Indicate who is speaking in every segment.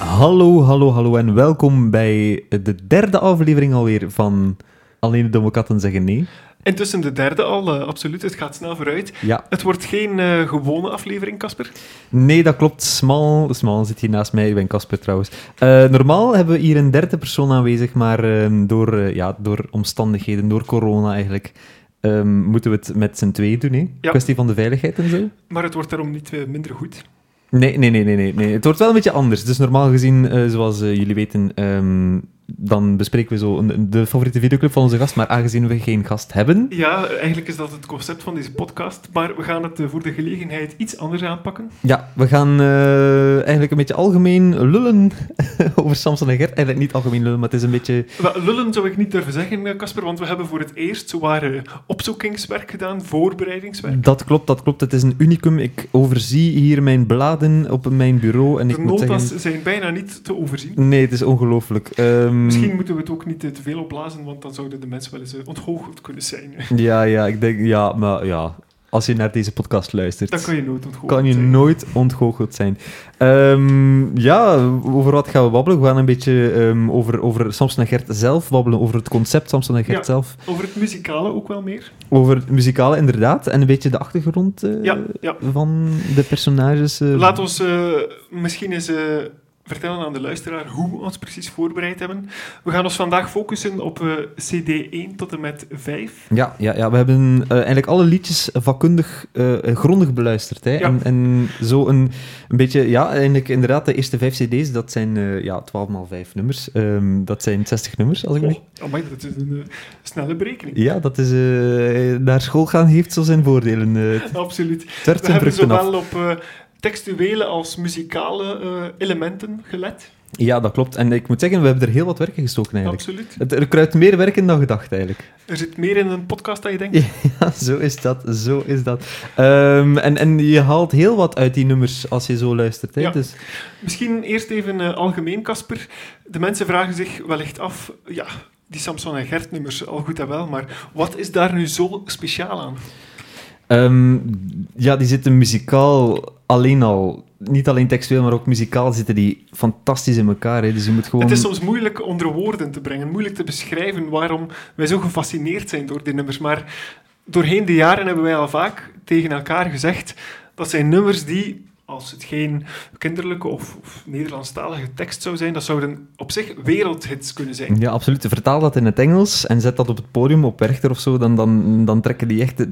Speaker 1: Hallo, hallo, hallo en welkom bij de derde aflevering alweer van Alleen domme katten zeggen nee.
Speaker 2: Intussen de derde al, eh, absoluut. Het gaat snel vooruit.
Speaker 1: Ja.
Speaker 2: Het wordt geen eh, gewone aflevering, Casper.
Speaker 1: Nee, dat klopt. Smal, Smal zit hier naast mij. Ik ben Casper trouwens. Eh, normaal hebben we hier een derde persoon aanwezig, maar ehm, door, eh, ja, door omstandigheden, door corona eigenlijk, ehm, moeten we het met z'n tweeën doen. Hè?
Speaker 2: Ja.
Speaker 1: Kwestie van de veiligheid en zo.
Speaker 2: Maar het wordt daarom niet eh, minder goed.
Speaker 1: Nee, nee, nee, nee, nee, nee. Het wordt wel een beetje anders. Dus normaal gezien, eh, zoals eh, jullie weten, ehm, dan bespreken we zo een, de favoriete videoclub van onze gast. Maar aangezien we geen gast hebben,
Speaker 2: Ja, eh, eigenlijk is dat het concept van deze podcast. Maar we gaan het eh, voor de gelegenheid iets anders aanpakken.
Speaker 1: ja, we gaan eh, eigenlijk een beetje algemeen lullen over Samson en Gert. Eigenlijk niet algemeen lullen, maar het is een beetje...
Speaker 2: Wel, lullen zou ik niet durven zeggen, eh, Casper, want we hebben voor het eerst zowaar eh, opzoekingswerk gedaan, voorbereidingswerk.
Speaker 1: Dat klopt, dat klopt. Het is een unicum. Ik overzie hier mijn bladen op mijn bureau en ik
Speaker 2: de
Speaker 1: moet
Speaker 2: notas
Speaker 1: zeggen...
Speaker 2: zijn bijna niet te overzien.
Speaker 1: Nee, het is ongelooflijk. Ehm,
Speaker 2: Misschien moeten we het ook niet eh, te veel opblazen, want dan zouden de mensen wel eens eh, onthoogd kunnen zijn.
Speaker 1: Ja, ja, ik denk... Ja, maar ja... Als je naar deze podcast luistert...
Speaker 2: Dan kan je nooit onthoogd
Speaker 1: kan je
Speaker 2: zijn.
Speaker 1: nooit ontgoocheld zijn. Ehm, ja, over wat gaan we babbelen? We gaan een beetje ehm, over, over Samson en Gert zelf babbelen, over het concept Samson en Gert
Speaker 2: Ja.
Speaker 1: zelf,
Speaker 2: Over het muzikale ook wel meer.
Speaker 1: over het muzikale inderdaad, en een beetje de achtergrond eh,
Speaker 2: Ja, ja.
Speaker 1: van de personages. eh.
Speaker 2: Laat ons eh, misschien eens eh, vertellen aan de luisteraar hoe we ons precies voorbereid hebben. We gaan ons vandaag focussen op eh, CD 1 tot en met 5.
Speaker 1: Ja, ja, ja, we hebben eh, eigenlijk alle liedjes vakkundig eh, grondig beluisterd. Hè?
Speaker 2: Ja.
Speaker 1: En, en zo een, een beetje, ja, eigenlijk inderdaad, de eerste vijf CD's, dat zijn eh, ja, 12 x 5 nummers. Ehm, dat zijn 60 nummers, als ik me niet
Speaker 2: Oh, amai, dat is een eh, snelle berekening.
Speaker 1: Ja, dat is eh, naar school gaan heeft zo zijn voordelen. eh het
Speaker 2: Absoluut.
Speaker 1: werpt
Speaker 2: We
Speaker 1: zijn
Speaker 2: hebben
Speaker 1: vruchten af.
Speaker 2: zowel op eh, textuele als muzikale eh, elementen gelet.
Speaker 1: Ja, dat klopt. En ik moet zeggen, we hebben er heel wat werk in gestoken eigenlijk.
Speaker 2: Absoluut.
Speaker 1: Het, er kruidt meer werk in dan gedacht eigenlijk.
Speaker 2: Er zit meer in een podcast dan je denkt.
Speaker 1: Ja, zo is dat, zo is dat. Ehm, en, en je haalt heel wat uit die nummers als je zo luistert. Hè?
Speaker 2: Ja.
Speaker 1: Dus,
Speaker 2: Misschien eerst even eh, algemeen, Casper. De mensen vragen zich wellicht af, ja, die Samson en Gert nummers, al goed en wel, maar wat is daar nu zo speciaal aan?
Speaker 1: ehm, ja, die zitten muzikaal alleen al. Niet alleen textueel, maar ook muzikaal zitten die fantastisch in elkaar. Hè? Dus je moet gewoon...
Speaker 2: Het is soms moeilijk onder woorden te brengen, moeilijk te beschrijven waarom wij zo gefascineerd zijn door die nummers. Maar doorheen de jaren hebben wij al vaak tegen elkaar gezegd dat zijn nummers die, als het geen kinderlijke of, of Nederlandstalige tekst zou zijn, dat zouden op zich wereldhits kunnen zijn.
Speaker 1: Ja, absoluut. Vertaal dat in het Engels en zet dat op het podium op Werchter of zo, dan, dan, dan trekken die echt eh,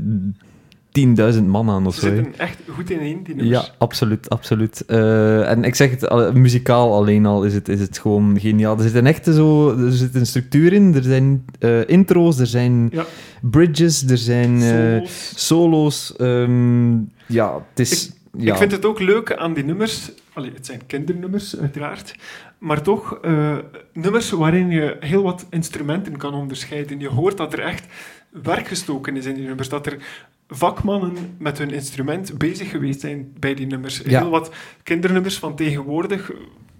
Speaker 1: 10.000 man aan of
Speaker 2: Ze
Speaker 1: zo. hè.
Speaker 2: zitten echt goed ineen, die nummers.
Speaker 1: Ja, absoluut, absoluut. Eh, en ik zeg het, al- muzikaal alleen al is het, is het gewoon geniaal. Er zit een echte zo, er zit een structuur in, er zijn eh, intro's, er zijn
Speaker 2: Ja.
Speaker 1: bridges, er zijn eh,
Speaker 2: Solo's.
Speaker 1: solo's. ehm, ja, het is... ja.
Speaker 2: Ik vind het ook leuk aan die nummers. Allee, het zijn kindernummers, uiteraard. Maar toch eh, nummers waarin je heel wat instrumenten kan onderscheiden. Je hoort dat er echt werk gestoken is in die nummers. Dat er vakmannen met hun instrument bezig geweest zijn bij die nummers.
Speaker 1: Ja.
Speaker 2: Heel wat kindernummers van tegenwoordig.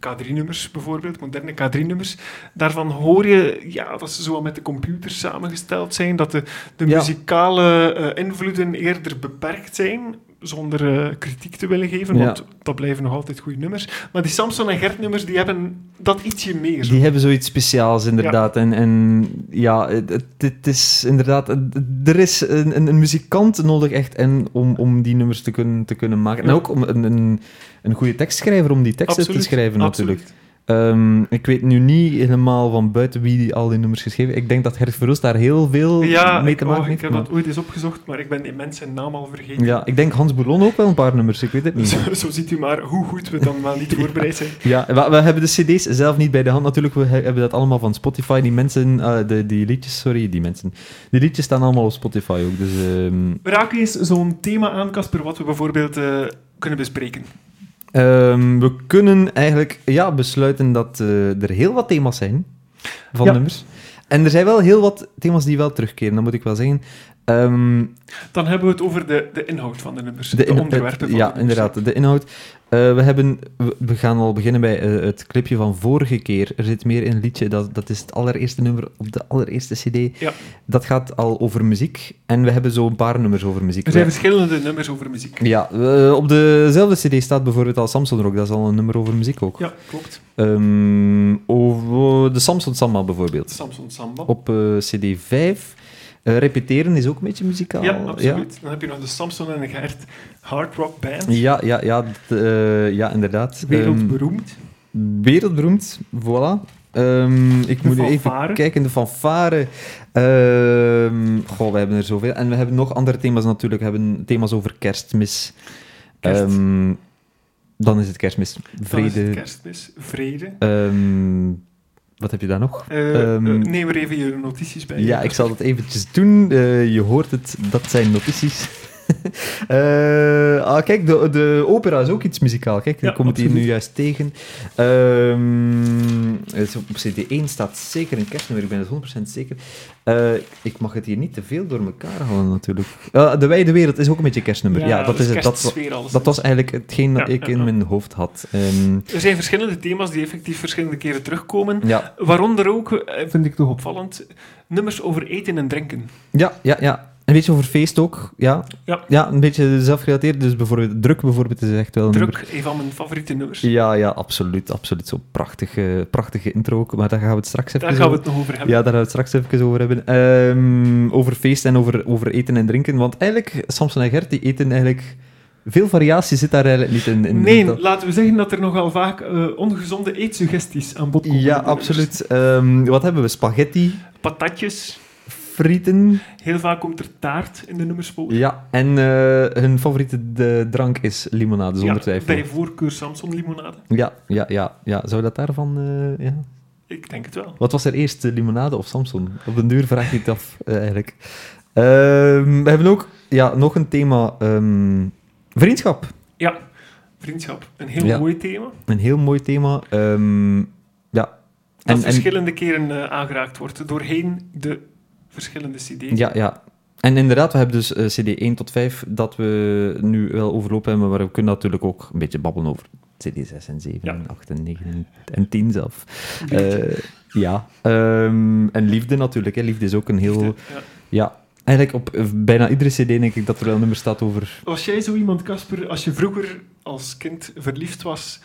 Speaker 2: K3-nummers bijvoorbeeld, moderne K3-nummers. Daarvan hoor je ja, dat ze zo wat met de computer samengesteld zijn, dat de, de
Speaker 1: Ja.
Speaker 2: muzikale eh, invloeden eerder beperkt zijn, zonder eh, kritiek te willen geven,
Speaker 1: Ja.
Speaker 2: want dat blijven nog altijd goede nummers. Maar die Samson en Gert nummers, die hebben dat ietsje meer.
Speaker 1: Die hebben zoiets speciaals, inderdaad. En, en ja, het, het- het is inderdaad... het- Er is een, een, een muzikant nodig echt en om, om die nummers te kunnen, te kunnen maken. En
Speaker 2: Ja.
Speaker 1: ook om een, een, een goede tekstschrijver om die teksten
Speaker 2: Absoluut,
Speaker 1: te schrijven,
Speaker 2: absoluut.
Speaker 1: natuurlijk. Ehm, ik weet nu niet helemaal van buiten wie die al die nummers geschreven Ik denk dat Gert Verhulst daar heel veel
Speaker 2: Ja,
Speaker 1: mee
Speaker 2: ik,
Speaker 1: te
Speaker 2: oh,
Speaker 1: maken
Speaker 2: ik
Speaker 1: heeft.
Speaker 2: heb
Speaker 1: maar-
Speaker 2: dat ooit eens opgezocht, maar ik ben die mensen naam al vergeten. Dus
Speaker 1: Ja, ik denk Hans Boulon ook wel een paar nummers, ik weet het niet.
Speaker 2: Zo, zo ziet u maar hoe goed we dan wel niet voorbereid zijn.
Speaker 1: Ja, we, we hebben de cd's zelf niet bij de hand natuurlijk. We he- hebben dat allemaal van Spotify. Die mensen, eh, de, die liedjes, sorry, die mensen. Die liedjes staan allemaal op Spotify ook. Dus ehm,
Speaker 2: We raken eens zo'n thema aan, Casper, wat we bijvoorbeeld eh, kunnen bespreken.
Speaker 1: ehm, we kunnen eigenlijk ja, besluiten dat eh, er heel wat thema's zijn van
Speaker 2: Ja.
Speaker 1: nummers. En er zijn wel heel wat thema's die wel terugkeren, dat moet ik wel zeggen. Ehm,
Speaker 2: Dan hebben we het over de, de inhoud van de nummers, de,
Speaker 1: in- Dus het-
Speaker 2: onderwerpen van
Speaker 1: Ja,
Speaker 2: de nummers.
Speaker 1: inderdaad. De inhoud. Eh, we, hebben, we- we gaan al beginnen bij eh, het clipje van vorige keer. Er zit meer in het liedje. Dat, dat is het allereerste nummer op de allereerste CD.
Speaker 2: Ja.
Speaker 1: Dat gaat al over muziek. En we hebben zo een paar nummers over muziek.
Speaker 2: Er zijn verschillende nummers over muziek.
Speaker 1: Ja, eh, op dezelfde CD staat bijvoorbeeld al Samson Rock. Dat is al een nummer over muziek ook.
Speaker 2: Ja, klopt.
Speaker 1: Ehm, over de Samson Samba bijvoorbeeld.
Speaker 2: Samson Samba.
Speaker 1: Op eh, CD 5. Eh, repeteren is ook een beetje muzikaal.
Speaker 2: ja, absoluut. Dan heb je nog de Samson en de Gert Hard Rock Band.
Speaker 1: Ja, ja, ja, d- eh, ja inderdaad. Ehm,
Speaker 2: Wereldberoemd.
Speaker 1: Wereldberoemd, voilà. Ehm, ik
Speaker 2: De
Speaker 1: moet nu even
Speaker 2: fanfare.
Speaker 1: kijken, de fanfare. Ehm goh, we hebben er zoveel. En we hebben nog andere thema's natuurlijk. We hebben thema's over kerstmis.
Speaker 2: Kerst.
Speaker 1: Ehm, dan is het kerstmis.
Speaker 2: Dan is het
Speaker 1: Vrede.
Speaker 2: kerstmis. Vrede.
Speaker 1: Ehm, wat heb je daar nog?
Speaker 2: Eh,
Speaker 1: Ehm,
Speaker 2: eh, neem er even je notities bij.
Speaker 1: Ja, ik zal dat eventjes doen. Eh, je hoort het, dat zijn notities. Eh, ah, kijk, de, de opera is ook iets muzikaal. Kijk, die
Speaker 2: Ja,
Speaker 1: komt hier nu
Speaker 2: absoluut.
Speaker 1: juist tegen. Ehm, het is op CD1 staat zeker een kerstnummer, ik ben het 100% zeker. Eh, ik mag het hier niet te veel door elkaar halen, natuurlijk. Eh, de Wijde Wereld is ook een beetje een kerstnummer. Ja, dat, is het. Dat,
Speaker 2: kerstsfeer, alles.
Speaker 1: dat was eigenlijk hetgeen dat
Speaker 2: Ja,
Speaker 1: ik
Speaker 2: ja,
Speaker 1: in
Speaker 2: ja.
Speaker 1: mijn hoofd had. Ehm,
Speaker 2: Er zijn verschillende thema's die effectief verschillende keren terugkomen.
Speaker 1: ja,
Speaker 2: Waaronder ook, eh, vind ik toch opvallend, nummers over eten en drinken.
Speaker 1: ja, ja, ja. Een beetje over feest ook, ja.
Speaker 2: Ja.
Speaker 1: ja een beetje zelfgerelateerd. Dus bijvoorbeeld, druk bijvoorbeeld is echt wel een nummer.
Speaker 2: Druk, een van mijn favoriete nummers.
Speaker 1: Ja, ja, absoluut. absoluut. Zo'n prachtige, prachtige intro ook. Maar daar gaan we het straks even
Speaker 2: Daar gaan we
Speaker 1: over-
Speaker 2: het nog over hebben.
Speaker 1: Ja, daar gaan we het straks even over hebben. Ehm, over feest en over, over eten en drinken. Want eigenlijk, Samson en Gert, die eten eigenlijk... Veel variatie zit daar eigenlijk niet in. in
Speaker 2: nee,
Speaker 1: dat-
Speaker 2: laten we zeggen dat er nogal vaak eh, ongezonde eetsuggesties aan bod komen. in
Speaker 1: Ja,
Speaker 2: de nummers.
Speaker 1: absoluut. Ehm, wat hebben we? Spaghetti,
Speaker 2: Patatjes.
Speaker 1: frieten.
Speaker 2: Heel vaak komt er taart in de nummers voor.
Speaker 1: Ja, en eh, hun favoriete de, drank is limonade, zonder
Speaker 2: Ja,
Speaker 1: twijfel.
Speaker 2: bij voorkeur Samson limonade.
Speaker 1: Ja, ja, ja, ja. Zou dat daarvan... eh, ja?
Speaker 2: Ik denk het wel.
Speaker 1: Wat was er eerst, eh, limonade of Samson? Op den duur vraag je het af, eh, eigenlijk. Ehm, we hebben ook ja, nog een thema, ehm, vriendschap.
Speaker 2: Ja, vriendschap. Een heel
Speaker 1: Ja.
Speaker 2: mooi thema.
Speaker 1: Een heel mooi thema. ehm, ja.
Speaker 2: Dat
Speaker 1: En, en,
Speaker 2: verschillende keren eh, aangeraakt wordt doorheen de verschillende cd's.
Speaker 1: ja, ja. En inderdaad, we hebben dus eh, CD 1 tot 5 dat we nu wel overlopen hebben, maar we kunnen natuurlijk ook een beetje babbelen over CD 6 en 7
Speaker 2: Ja.
Speaker 1: en 8 en 9 en- en 10 zelf. Eh, ja. Ehm, en liefde natuurlijk. Hè. Liefde is ook een heel...
Speaker 2: Ja.
Speaker 1: Ja, eigenlijk op eh, bijna iedere CD denk ik dat er wel een nummer staat over.
Speaker 2: Was jij zo iemand, Casper, als je vroeger als kind verliefd was,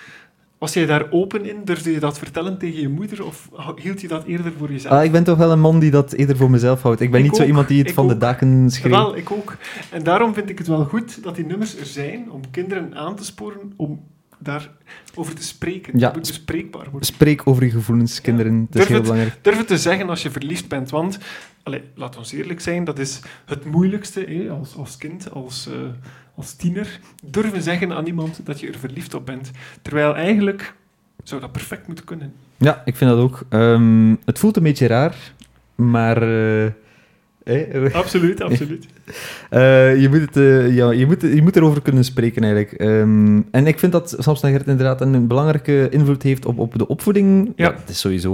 Speaker 2: was jij daar open in? Durfde je dat vertellen tegen je moeder of hou- hield je dat eerder voor jezelf?
Speaker 1: Ah, ik ben toch wel een man die dat eerder voor mezelf houdt. Ik ben
Speaker 2: Ik
Speaker 1: niet zo
Speaker 2: ook,
Speaker 1: iemand die het
Speaker 2: ik
Speaker 1: van de
Speaker 2: ook.
Speaker 1: daken schreeuwt.
Speaker 2: Wel, ik ook. En daarom vind ik het wel goed dat die nummers er zijn om kinderen aan te sporen om daarover te spreken.
Speaker 1: Ja.
Speaker 2: Het moet bespreekbaar worden.
Speaker 1: Spreek over je gevoelens, kinderen. Dat is
Speaker 2: Durf
Speaker 1: heel
Speaker 2: het.
Speaker 1: belangrijk.
Speaker 2: Durf het te zeggen als je verliefd bent, want allee, laat ons eerlijk zijn, dat is het moeilijkste hè, als, als kind, als, eh, als tiener. Durven zeggen aan iemand dat je er verliefd op bent. Terwijl eigenlijk zou dat perfect moeten kunnen.
Speaker 1: Ja, ik vind dat ook. Ehm, het voelt een beetje raar, maar. eh, eh, eh,
Speaker 2: Absoluut, absoluut.
Speaker 1: eh, je, moet het, eh, ja, je, moet, je moet erover kunnen spreken, eigenlijk. Ehm, en ik vind dat Samson en Gert inderdaad een belangrijke invloed heeft op, op de opvoeding.
Speaker 2: Ja.
Speaker 1: dat, is sowieso,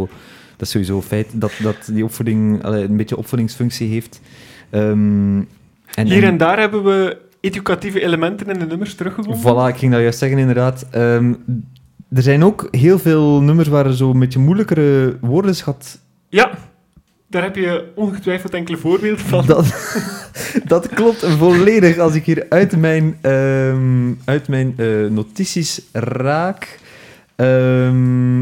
Speaker 1: dat is sowieso een feit dat, dat die opvoeding allee, een beetje opvoedingsfunctie heeft. Ehm, en,
Speaker 2: Hier en daar hebben we educatieve elementen in de nummers teruggevonden.
Speaker 1: Voilà, ik ging dat juist zeggen, inderdaad. Ehm, er zijn ook heel veel nummers waar zo'n beetje moeilijkere woordenschat...
Speaker 2: Ja, daar heb je ongetwijfeld enkele voorbeelden van.
Speaker 1: Dat, dat klopt volledig. Als ik hier uit mijn, ehm, uit mijn eh, notities raak... Ehm,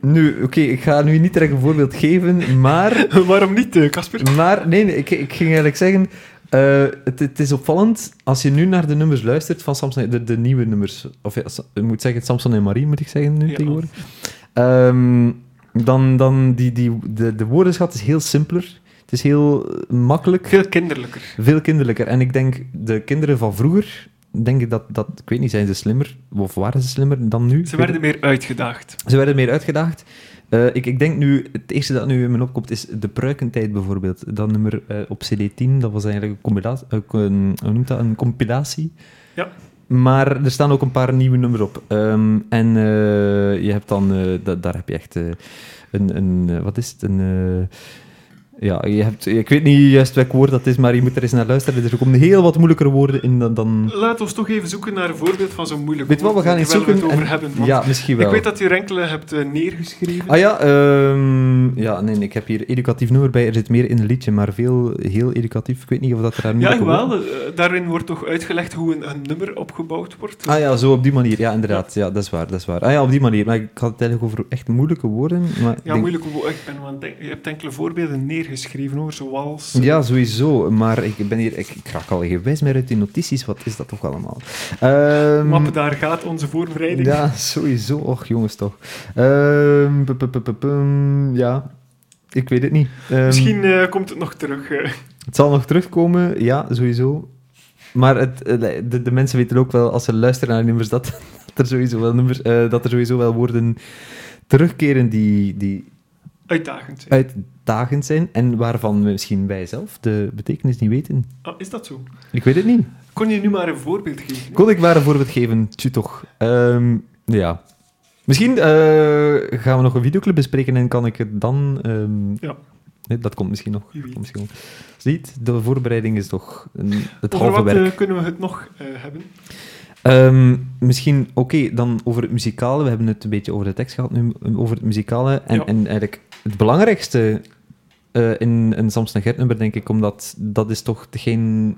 Speaker 1: nu, oké, ik ga nu niet direct een voorbeeld geven, maar...
Speaker 2: Waarom niet, eh, Casper?
Speaker 1: Maar nee, nee, ik, ik ging eigenlijk zeggen. eh, het, het is opvallend als je nu naar de nummers luistert van Samson, de, de nieuwe nummers. Of ja, Sa- ik moet zeggen, Samson en Marie moet ik zeggen nu
Speaker 2: Ja.
Speaker 1: tegenwoordig. Ehm, dan dan die, die, de, de woordenschat is heel simpeler. Het is heel eh, makkelijk,
Speaker 2: Veel kinderlijker.
Speaker 1: veel kinderlijker. En ik denk, de kinderen van vroeger, denk ik dat, dat, ik weet niet, zijn ze slimmer? Of waren ze slimmer dan nu? Ik
Speaker 2: Ze
Speaker 1: weet
Speaker 2: werden meer uitgedaagd.
Speaker 1: ze werden meer uitgedaagd. Eh, ik, ik denk nu, het eerste dat nu in mijn opkomt is de pruikentijd bijvoorbeeld. Dat nummer eh, op CD10, dat was eigenlijk een compilatie. een, hoe noemt dat? Een compilatie.
Speaker 2: Ja.
Speaker 1: Maar er staan ook een paar nieuwe nummers op. Ehm, en eh, je hebt dan, eh, da- daar heb je echt eh, een, een, eh, wat is het? Een, eh, Ja, je hebt, ik weet niet juist welk woord dat is, maar je moet er eens naar luisteren. Dus Er komen heel wat moeilijkere woorden in dan... dan...
Speaker 2: Laat ons toch even zoeken naar een voorbeeld van zo'n moeilijk
Speaker 1: Weet je wat, we
Speaker 2: woord,
Speaker 1: gaan eens
Speaker 2: terwijl
Speaker 1: zoeken...
Speaker 2: we het over
Speaker 1: en-
Speaker 2: hebben. want
Speaker 1: ja, misschien wel.
Speaker 2: Ik weet dat u er enkele hebt eh, neergeschreven.
Speaker 1: Ah ja, ehm, ja nee, nee, ik heb hier educatief nummer bij. Er zit meer in een liedje, maar veel heel educatief. Ik weet niet of dat er daar
Speaker 2: Ja,
Speaker 1: moeilijke woorden-
Speaker 2: jawel. eh, Daarin wordt toch uitgelegd hoe een, een nummer opgebouwd wordt.
Speaker 1: Ah ja, zo op die manier. Ja, inderdaad. Ja, dat is waar. Dat is waar. Ah ja, op die manier. Maar ik had het eigenlijk over echt moeilijke woorden. Maar ik
Speaker 2: ja,
Speaker 1: denk-
Speaker 2: moeilijk. hoe- Ik ben wel aan het denken. Je hebt enkele voorbeelden neergeschreven, hoor. Zoals...
Speaker 1: Ja, sowieso. Maar ik ben hier... Ik, ik raak al gewijs meer uit die notities. Wat is dat toch allemaal? Ehm,
Speaker 2: Mappen, daar gaat onze voorbereiding.
Speaker 1: Ja, ehm, sowieso. Och, jongens toch. Ehm, pu- pu- pu- pu- pum, ja, ik weet het niet. Ehm,
Speaker 2: Misschien eh, komt het nog terug. eh.
Speaker 1: Het zal nog terugkomen, ja, sowieso. Maar het, eh, de, de mensen weten ook wel, als ze luisteren naar nummers, dat, dat er, sowieso wel nummers, eh, dat er sowieso wel woorden terugkeren die, die
Speaker 2: Uitdagend.
Speaker 1: Eh,
Speaker 2: zijn.
Speaker 1: uitdagend zijn en waarvan we misschien wij zelf de betekenis niet weten.
Speaker 2: Ah, is dat zo?
Speaker 1: Ik weet het niet.
Speaker 2: Kon je nu maar een voorbeeld geven?
Speaker 1: Kon ik maar een voorbeeld geven, tju toch. Ehm, ja. Misschien eh, gaan we nog een videoclip bespreken en kan ik het dan... ehm,
Speaker 2: Ja.
Speaker 1: nee, dat komt misschien nog.
Speaker 2: Wie weet.
Speaker 1: Komt misschien nog. Ziet, de voorbereiding is toch een, het
Speaker 2: Over
Speaker 1: halve
Speaker 2: wat
Speaker 1: werk.
Speaker 2: eh, kunnen we het nog eh, hebben?
Speaker 1: Ehm, misschien, oké, dan over het muzikale. We hebben het een beetje over de tekst gehad nu, eh, over het muzikale. En,
Speaker 2: Ja.
Speaker 1: en eigenlijk het belangrijkste eh, in een Samson en Gert nummer, denk ik, omdat dat is toch degene...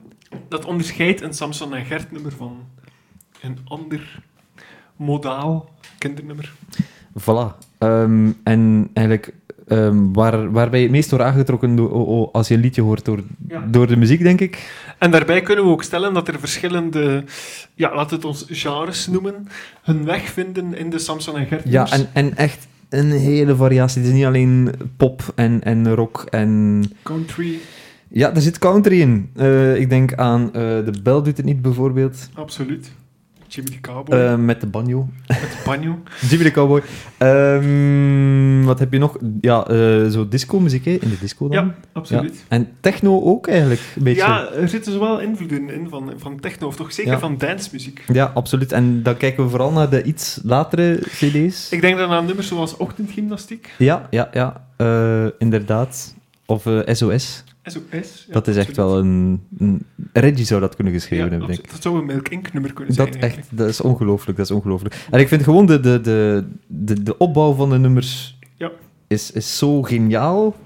Speaker 2: Dat onderscheidt een Samson en Gert nummer van een ander modaal kindernummer.
Speaker 1: Voilà. Ehm, en eigenlijk ehm, waar, waar ben je het meest door aangetrokken door, oh, oh, als je een liedje hoort? Door,
Speaker 2: Ja.
Speaker 1: door de muziek, denk ik.
Speaker 2: En daarbij kunnen we ook stellen dat er verschillende, ja, laat het ons genres noemen, hun weg vinden in de Samson en Gert
Speaker 1: Ja,
Speaker 2: nummers.
Speaker 1: en, en echt een hele variatie. Het is niet alleen pop en, en rock en...
Speaker 2: Country,
Speaker 1: Ja, daar zit country in. Eh, ik denk aan eh, De Bel doet het niet, bijvoorbeeld.
Speaker 2: absoluut. Jimmy de Cowboy,
Speaker 1: Eh, met de banjo.
Speaker 2: het banjo.
Speaker 1: Jimmy de Cowboy. Ehm, wat heb je nog? Ja, eh, zo disco-muziek hè, in de disco dan.
Speaker 2: Ja, absoluut.
Speaker 1: En techno ook eigenlijk, een beetje.
Speaker 2: Ja, er zitten zowel invloeden in van, van techno, of toch zeker
Speaker 1: Ja.
Speaker 2: van dancemuziek.
Speaker 1: Ja, absoluut. En dan kijken we vooral naar de iets latere cd's.
Speaker 2: Ik denk dan aan nummers zoals Ochtendgymnastiek,
Speaker 1: Ja, ja, ja. Eh, inderdaad. Of eh, SOS.
Speaker 2: SOS. ja,
Speaker 1: dat is echt
Speaker 2: absoluut.
Speaker 1: wel een, een... Reggie zou dat kunnen geschreven
Speaker 2: Ja,
Speaker 1: hebben, denk ik.
Speaker 2: absoluut. Dat zou een Milk Inc. nummer kunnen zijn.
Speaker 1: Dat,
Speaker 2: eigenlijk.
Speaker 1: echt, dat is ongelooflijk, dat is ongelooflijk. En ik vind gewoon de, de, de, de, de opbouw van de nummers
Speaker 2: Ja.
Speaker 1: is, is zo geniaal.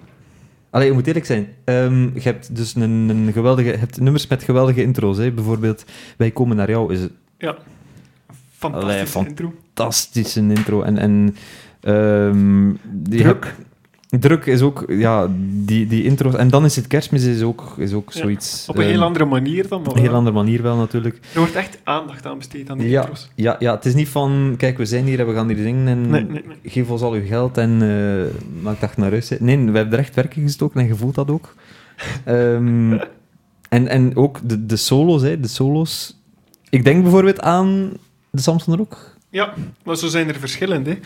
Speaker 1: Allee, je moet eerlijk zijn. Ehm, je hebt dus een, een geweldige, je hebt nummers met geweldige intro's. Hè. Bijvoorbeeld, Wij komen naar jou is een
Speaker 2: Fantastische
Speaker 1: Allee, van-
Speaker 2: intro.
Speaker 1: fantastische intro. En, en ehm, die
Speaker 2: Druk.
Speaker 1: heb- druk is ook, ja, die, die intro's. En dan is het kerstmis is ook, is ook
Speaker 2: Ja,
Speaker 1: zoiets.
Speaker 2: Op een
Speaker 1: ehm,
Speaker 2: heel andere manier dan, maar
Speaker 1: een heel
Speaker 2: wel.
Speaker 1: andere manier wel natuurlijk.
Speaker 2: er wordt echt aandacht aan besteed aan die
Speaker 1: Ja,
Speaker 2: intro's.
Speaker 1: ja, ja, het is niet van, kijk, we zijn hier en we gaan hier zingen en
Speaker 2: Nee, nee, nee.
Speaker 1: geef ons al uw geld en eh, maak dag naar huis. hè. Nee, we hebben er echt werk in gestoken en je voelt dat ook. Ehm, en, en ook de, de solo's, hè, de solo's. Ik denk bijvoorbeeld aan de Samson Rock.
Speaker 2: Maar zo zijn er verschillende. hè.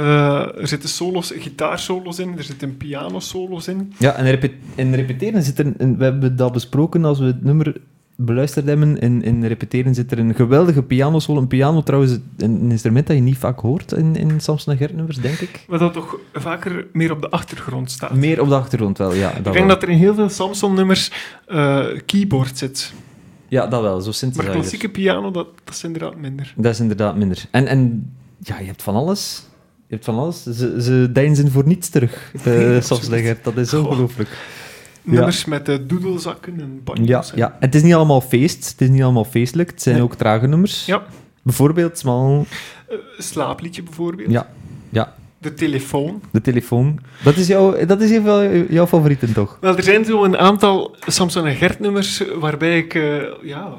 Speaker 2: Eh, er zitten solos, gitaarsolos in, er zitten pianosolos in.
Speaker 1: Ja, en, repe- en repeteren zit er, een- een- we hebben dat besproken als we het nummer beluisterd hebben, in, in repeteren zit er een geweldige pianosolo. Een piano trouwens, een instrument dat je niet vaak hoort in, in Samson en Gert nummers, denk ik.
Speaker 2: Wat dat toch vaker meer op de achtergrond staat.
Speaker 1: Meer op de achtergrond wel, ja. Dat
Speaker 2: Ik denk
Speaker 1: wel.
Speaker 2: dat er in heel veel Samsung-nummers eh, keyboard zit.
Speaker 1: Ja, dat wel, zo
Speaker 2: Maar
Speaker 1: synthesizer.
Speaker 2: klassieke piano, dat, dat is inderdaad minder.
Speaker 1: Dat is inderdaad minder. En, en ja, je hebt van alles. Je hebt van alles. Ze, ze deinzen voor niets terug,
Speaker 2: Nee,
Speaker 1: eh soms
Speaker 2: absoluut.
Speaker 1: Dat is
Speaker 2: Goh.
Speaker 1: ongelooflijk. Ja.
Speaker 2: Nummers met eh, doedelzakken en banjo's.
Speaker 1: Ja,
Speaker 2: en-
Speaker 1: ja. Het is niet allemaal feest, het is niet allemaal feestelijk. Het zijn
Speaker 2: Nee.
Speaker 1: ook trage nummers.
Speaker 2: Ja.
Speaker 1: Bijvoorbeeld, smal,
Speaker 2: Eh, slaapliedje bijvoorbeeld.
Speaker 1: Ja, ja.
Speaker 2: De telefoon.
Speaker 1: de telefoon. Dat is, jouw, dat is even wel jouw favorieten, toch?
Speaker 2: Wel, er zijn zo een aantal Samson en Gert nummers waarbij ik, eh, ja,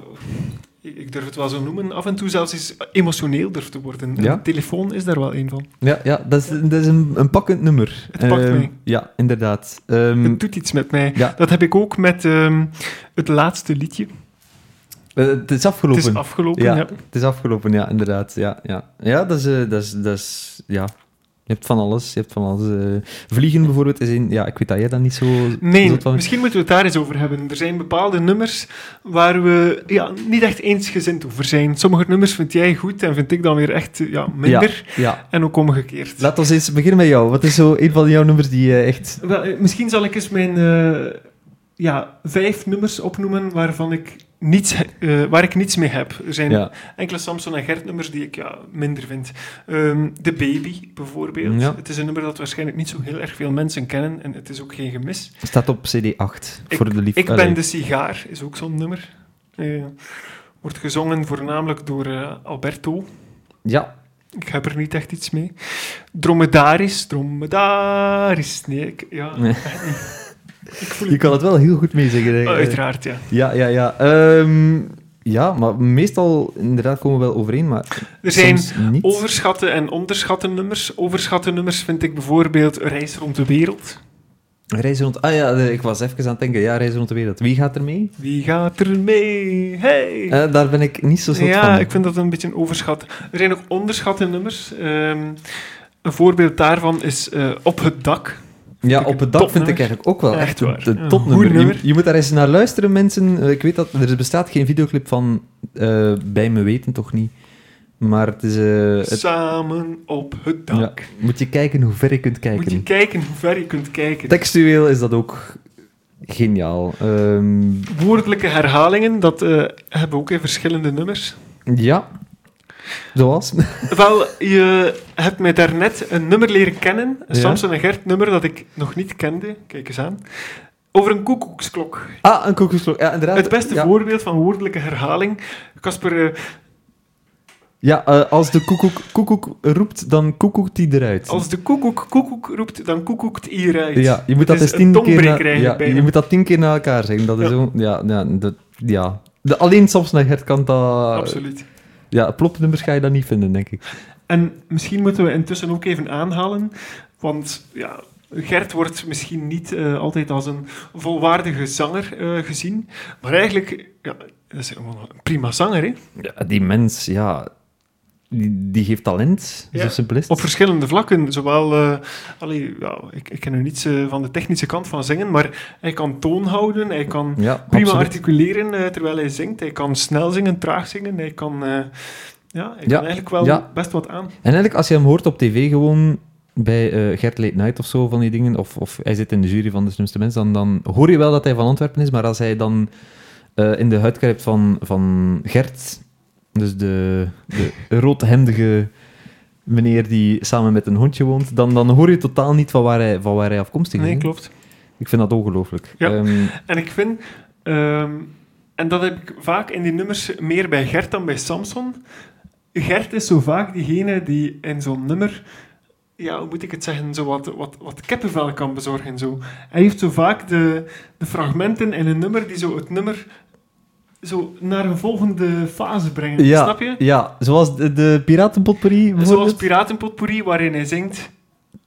Speaker 2: ik ik durf het wel zo noemen, af en toe zelfs eens emotioneel durf te worden. En
Speaker 1: Ja?
Speaker 2: de telefoon is daar wel een van.
Speaker 1: Ja, ja dat is, dat is een, een pakkend nummer.
Speaker 2: Het pakt
Speaker 1: Ehm,
Speaker 2: mij.
Speaker 1: Ja, inderdaad. Ehm,
Speaker 2: Het doet iets met mij.
Speaker 1: Ja.
Speaker 2: Dat heb ik ook met ehm, het laatste liedje.
Speaker 1: eh, het is
Speaker 2: Het
Speaker 1: afgelopen.
Speaker 2: is afgelopen,
Speaker 1: Ja,
Speaker 2: ja.
Speaker 1: het is afgelopen, ja, inderdaad. Ja, ja. ja dat is... eh, dat is, dat is ja. Je hebt van alles. Je hebt van alles. eh. vliegen bijvoorbeeld is een... Ja, ik weet dat jij dat niet zo...
Speaker 2: Nee,
Speaker 1: zot van-
Speaker 2: misschien moeten we het daar eens over hebben. Er zijn bepaalde nummers waar we ja, niet echt eensgezind over zijn. Sommige nummers vind jij goed en vind ik dan weer echt eh, ja, minder.
Speaker 1: Ja, ja.
Speaker 2: En ook omgekeerd.
Speaker 1: Laat ons eens beginnen met jou. Wat is zo een van jouw nummers die eh, echt...
Speaker 2: Wel, eh, misschien zal ik eens mijn eh, ja, vijf nummers opnoemen waarvan ik niets, eh, waar ik niets mee heb. Er zijn
Speaker 1: Ja.
Speaker 2: enkele Samson en Gert nummers die ik ja, minder vind. Ehm The Baby bijvoorbeeld.
Speaker 1: Ja.
Speaker 2: Het is een nummer dat waarschijnlijk niet zo heel erg veel mensen kennen en het is ook geen gemis.
Speaker 1: Staat op CD8.
Speaker 2: Ik-
Speaker 1: voor de lief...
Speaker 2: Ik
Speaker 1: Allee.
Speaker 2: ben de sigaar is ook zo'n nummer. Eh, wordt gezongen voornamelijk door eh, Alberto.
Speaker 1: Ja.
Speaker 2: Ik heb er niet echt iets mee. Dromedaris, dromedaris. Nee, ik, ja,
Speaker 1: Nee.
Speaker 2: echt niet. Ik voel
Speaker 1: Je kan het wel heel goed meezingen.
Speaker 2: Eh,
Speaker 1: hè.
Speaker 2: Uiteraard, ja.
Speaker 1: Ja, ja, ja. Ehm, ja, maar meestal inderdaad komen we wel overeen, maar
Speaker 2: Er zijn
Speaker 1: soms niet.
Speaker 2: overschatte en onderschatte nummers. Overschatte nummers vind ik bijvoorbeeld Reis rond de wereld.
Speaker 1: Reis rond... Ah ja, de- ik was even aan het denken. Ja, reis rond de wereld. Wie gaat er mee?
Speaker 2: Wie gaat er mee? Hey!
Speaker 1: Eh, daar ben ik niet zo zot
Speaker 2: ja,
Speaker 1: van.
Speaker 2: ik vind dat een beetje een overschat. Er zijn ook onderschatte nummers. Ehm, een voorbeeld daarvan is eh, Op het dak.
Speaker 1: ja,
Speaker 2: ik
Speaker 1: op
Speaker 2: een
Speaker 1: het dak vind ik
Speaker 2: topnummer.
Speaker 1: eigenlijk ook wel
Speaker 2: Echt
Speaker 1: echt een,
Speaker 2: waar.
Speaker 1: een
Speaker 2: Een
Speaker 1: topnummer.
Speaker 2: goed
Speaker 1: Je,
Speaker 2: nummer.
Speaker 1: je moet daar eens naar luisteren, mensen. Eh, Ik weet dat er bestaat geen videoclip van eh, Bij Me Weten, toch niet? Maar het is... eh, het,
Speaker 2: Samen op het
Speaker 1: ja,
Speaker 2: dak.
Speaker 1: moet je kijken hoe ver je kunt kijken.
Speaker 2: Moet je kijken hoe ver je kunt kijken.
Speaker 1: Textueel is dat ook geniaal. Ehm,
Speaker 2: Woordelijke herhalingen, dat eh, hebben we ook in verschillende nummers.
Speaker 1: ja. Zoals?
Speaker 2: Wel, je hebt mij daarnet een nummer leren kennen, een
Speaker 1: Ja.
Speaker 2: Samson en Gert nummer dat ik nog niet kende, kijk eens aan, over een koekoeksklok.
Speaker 1: Ah, een koekoeksklok. Ja, inderdaad.
Speaker 2: Het beste
Speaker 1: ja.
Speaker 2: voorbeeld van woordelijke herhaling. Casper, eh,
Speaker 1: Ja, eh, als de koekoek, koekoek roept, dan koekoekt hij eruit.
Speaker 2: als de koekoek koekoek roept, dan koekoekt hieruit.
Speaker 1: Ja, je
Speaker 2: Het
Speaker 1: moet dat
Speaker 2: is
Speaker 1: eens
Speaker 2: een
Speaker 1: tien keer
Speaker 2: tongbreker
Speaker 1: na, ja,
Speaker 2: eigenlijk bijna.
Speaker 1: je moet dat tien keer na elkaar zeggen. Dat is
Speaker 2: Ja.
Speaker 1: zo, ja, ja, dat- ja. De, alleen soms naar Gert kan dat...
Speaker 2: Absoluut.
Speaker 1: Ja, plopnummers ga je dat niet vinden, denk ik.
Speaker 2: En misschien moeten we intussen ook even aanhalen, want ja, Gert wordt misschien niet eh, altijd als een volwaardige zanger eh, gezien, maar eigenlijk ja, dat is gewoon een prima zanger. Hè?
Speaker 1: Ja, die mens, ja... Die, die heeft talent,
Speaker 2: Ja.
Speaker 1: zo simpel is het.
Speaker 2: Op verschillende vlakken, zowel, eh, allee, ja, ik, ik ken nu niets eh, van de technische kant van zingen, maar hij kan toon houden, hij kan
Speaker 1: ja,
Speaker 2: prima
Speaker 1: absoluut.
Speaker 2: articuleren eh, terwijl hij zingt, hij kan snel zingen, traag zingen, hij kan, eh, ja, hij
Speaker 1: Ja,
Speaker 2: kan eigenlijk wel
Speaker 1: ja.
Speaker 2: best wat aan.
Speaker 1: En eigenlijk, als je hem hoort op tv, gewoon bij eh, Gert Late Night of zo, van die dingen, of, of hij zit in de jury van de slimste mens, dan, dan hoor je wel dat hij van Antwerpen is, maar als hij dan eh, in de huid kruipt van, van Gert, dus de, de roodhemdige meneer die samen met een hondje woont, dan, dan hoor je totaal niet van waar hij, van waar hij afkomstig is.
Speaker 2: Nee,
Speaker 1: hè.
Speaker 2: klopt.
Speaker 1: Ik vind dat ongelooflijk.
Speaker 2: Ja.
Speaker 1: Ehm,
Speaker 2: En ik vind, ehm, en dat heb ik vaak in die nummers meer bij Gert dan bij Samson. Gert is zo vaak diegene die in zo'n nummer, ja, hoe moet ik het zeggen, zo wat, wat, wat kippenvel kan bezorgen. Zo. Hij heeft zo vaak de, de fragmenten in een nummer die zo het nummer zo naar een volgende fase brengen.
Speaker 1: ja,
Speaker 2: Snap je?
Speaker 1: Ja, zoals de, de piratenpotpourri bijvoorbeeld.
Speaker 2: Zoals Piratenpotpourri, waarin hij zingt...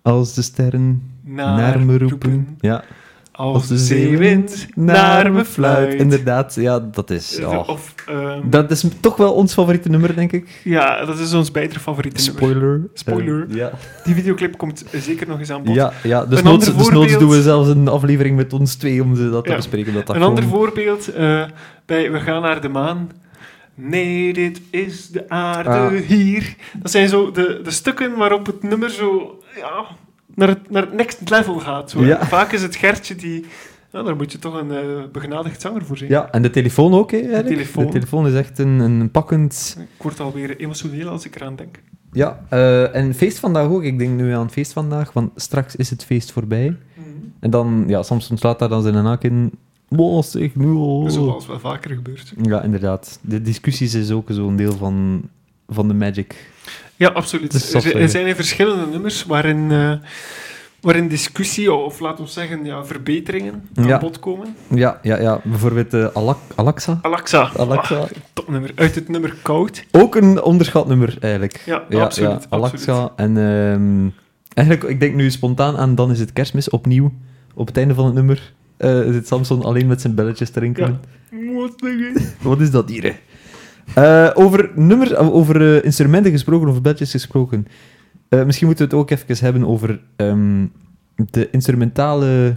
Speaker 1: Als de sterren
Speaker 2: Naar,
Speaker 1: naar, me roepen. Ja.
Speaker 2: als de zeewind naar me fluit.
Speaker 1: Inderdaad, ja, dat is... oh.
Speaker 2: Of, ehm,
Speaker 1: Dat is toch wel ons favoriete nummer, denk ik.
Speaker 2: Ja, dat is ons beide favoriete nummer.
Speaker 1: Spoiler.
Speaker 2: Spoiler.
Speaker 1: Eh, ja.
Speaker 2: Die videoclip komt zeker nog eens aan bod.
Speaker 1: ja, ja, dus
Speaker 2: Een
Speaker 1: noods,
Speaker 2: ander
Speaker 1: dus noods
Speaker 2: voorbeeld-
Speaker 1: doen we zelfs een aflevering met ons twee om ze dat te
Speaker 2: Ja.
Speaker 1: bespreken. omdat Dat
Speaker 2: een ander
Speaker 1: gewoon-
Speaker 2: voorbeeld eh, bij We gaan naar de maan. Nee, dit is de aarde
Speaker 1: Ah.
Speaker 2: hier. Dat zijn zo de, de stukken waarop het nummer zo ja, naar, het, naar het next level gaat. Zo.
Speaker 1: Ja.
Speaker 2: Vaak is het Gertje die... Nou, daar moet je toch een eh, begnadigd zanger voor zijn.
Speaker 1: Ja, en de telefoon ook, hè, eigenlijk.
Speaker 2: telefoon.
Speaker 1: de telefoon is echt een, een pakkend...
Speaker 2: Ik word alweer emotioneel als ik eraan denk.
Speaker 1: Ja, eh, en feest vandaag ook. Ik denk nu aan feest vandaag, want straks is het feest voorbij.
Speaker 2: Mhm.
Speaker 1: En dan, ja, soms slaat daar dan zijn haak in. Wow, zeg, nu al.
Speaker 2: Zoals wel vaker gebeurt.
Speaker 1: Ja, inderdaad. De discussies is ook zo'n deel van, van de magic.
Speaker 2: Ja, absoluut.
Speaker 1: Het is
Speaker 2: Er,
Speaker 1: zot,
Speaker 2: zi- er
Speaker 1: hè.
Speaker 2: zijn er verschillende nummers waarin, eh, waarin discussie, of laten we zeggen ja, verbeteringen, aan
Speaker 1: Ja.
Speaker 2: bod komen.
Speaker 1: Ja, ja, ja. Bijvoorbeeld eh, Alak Alexa.
Speaker 2: Alexa.
Speaker 1: Alexa.
Speaker 2: Ah, topnummer. Uit het nummer Koud.
Speaker 1: Ook een onderschat nummer, eigenlijk.
Speaker 2: Ja, absoluut,
Speaker 1: Alexa. En ehm, eigenlijk, ik denk nu spontaan aan Dan is het kerstmis opnieuw. Op het einde van het nummer eh, zit Samson alleen met zijn belletjes te rinkelen.
Speaker 2: Ja. Wat zeggen?
Speaker 1: Wat is dat hier, hè? Eh, over nummers, eh, over eh, instrumenten gesproken, over belletjes gesproken. Eh, misschien moeten we het ook even hebben over ehm, de instrumentale...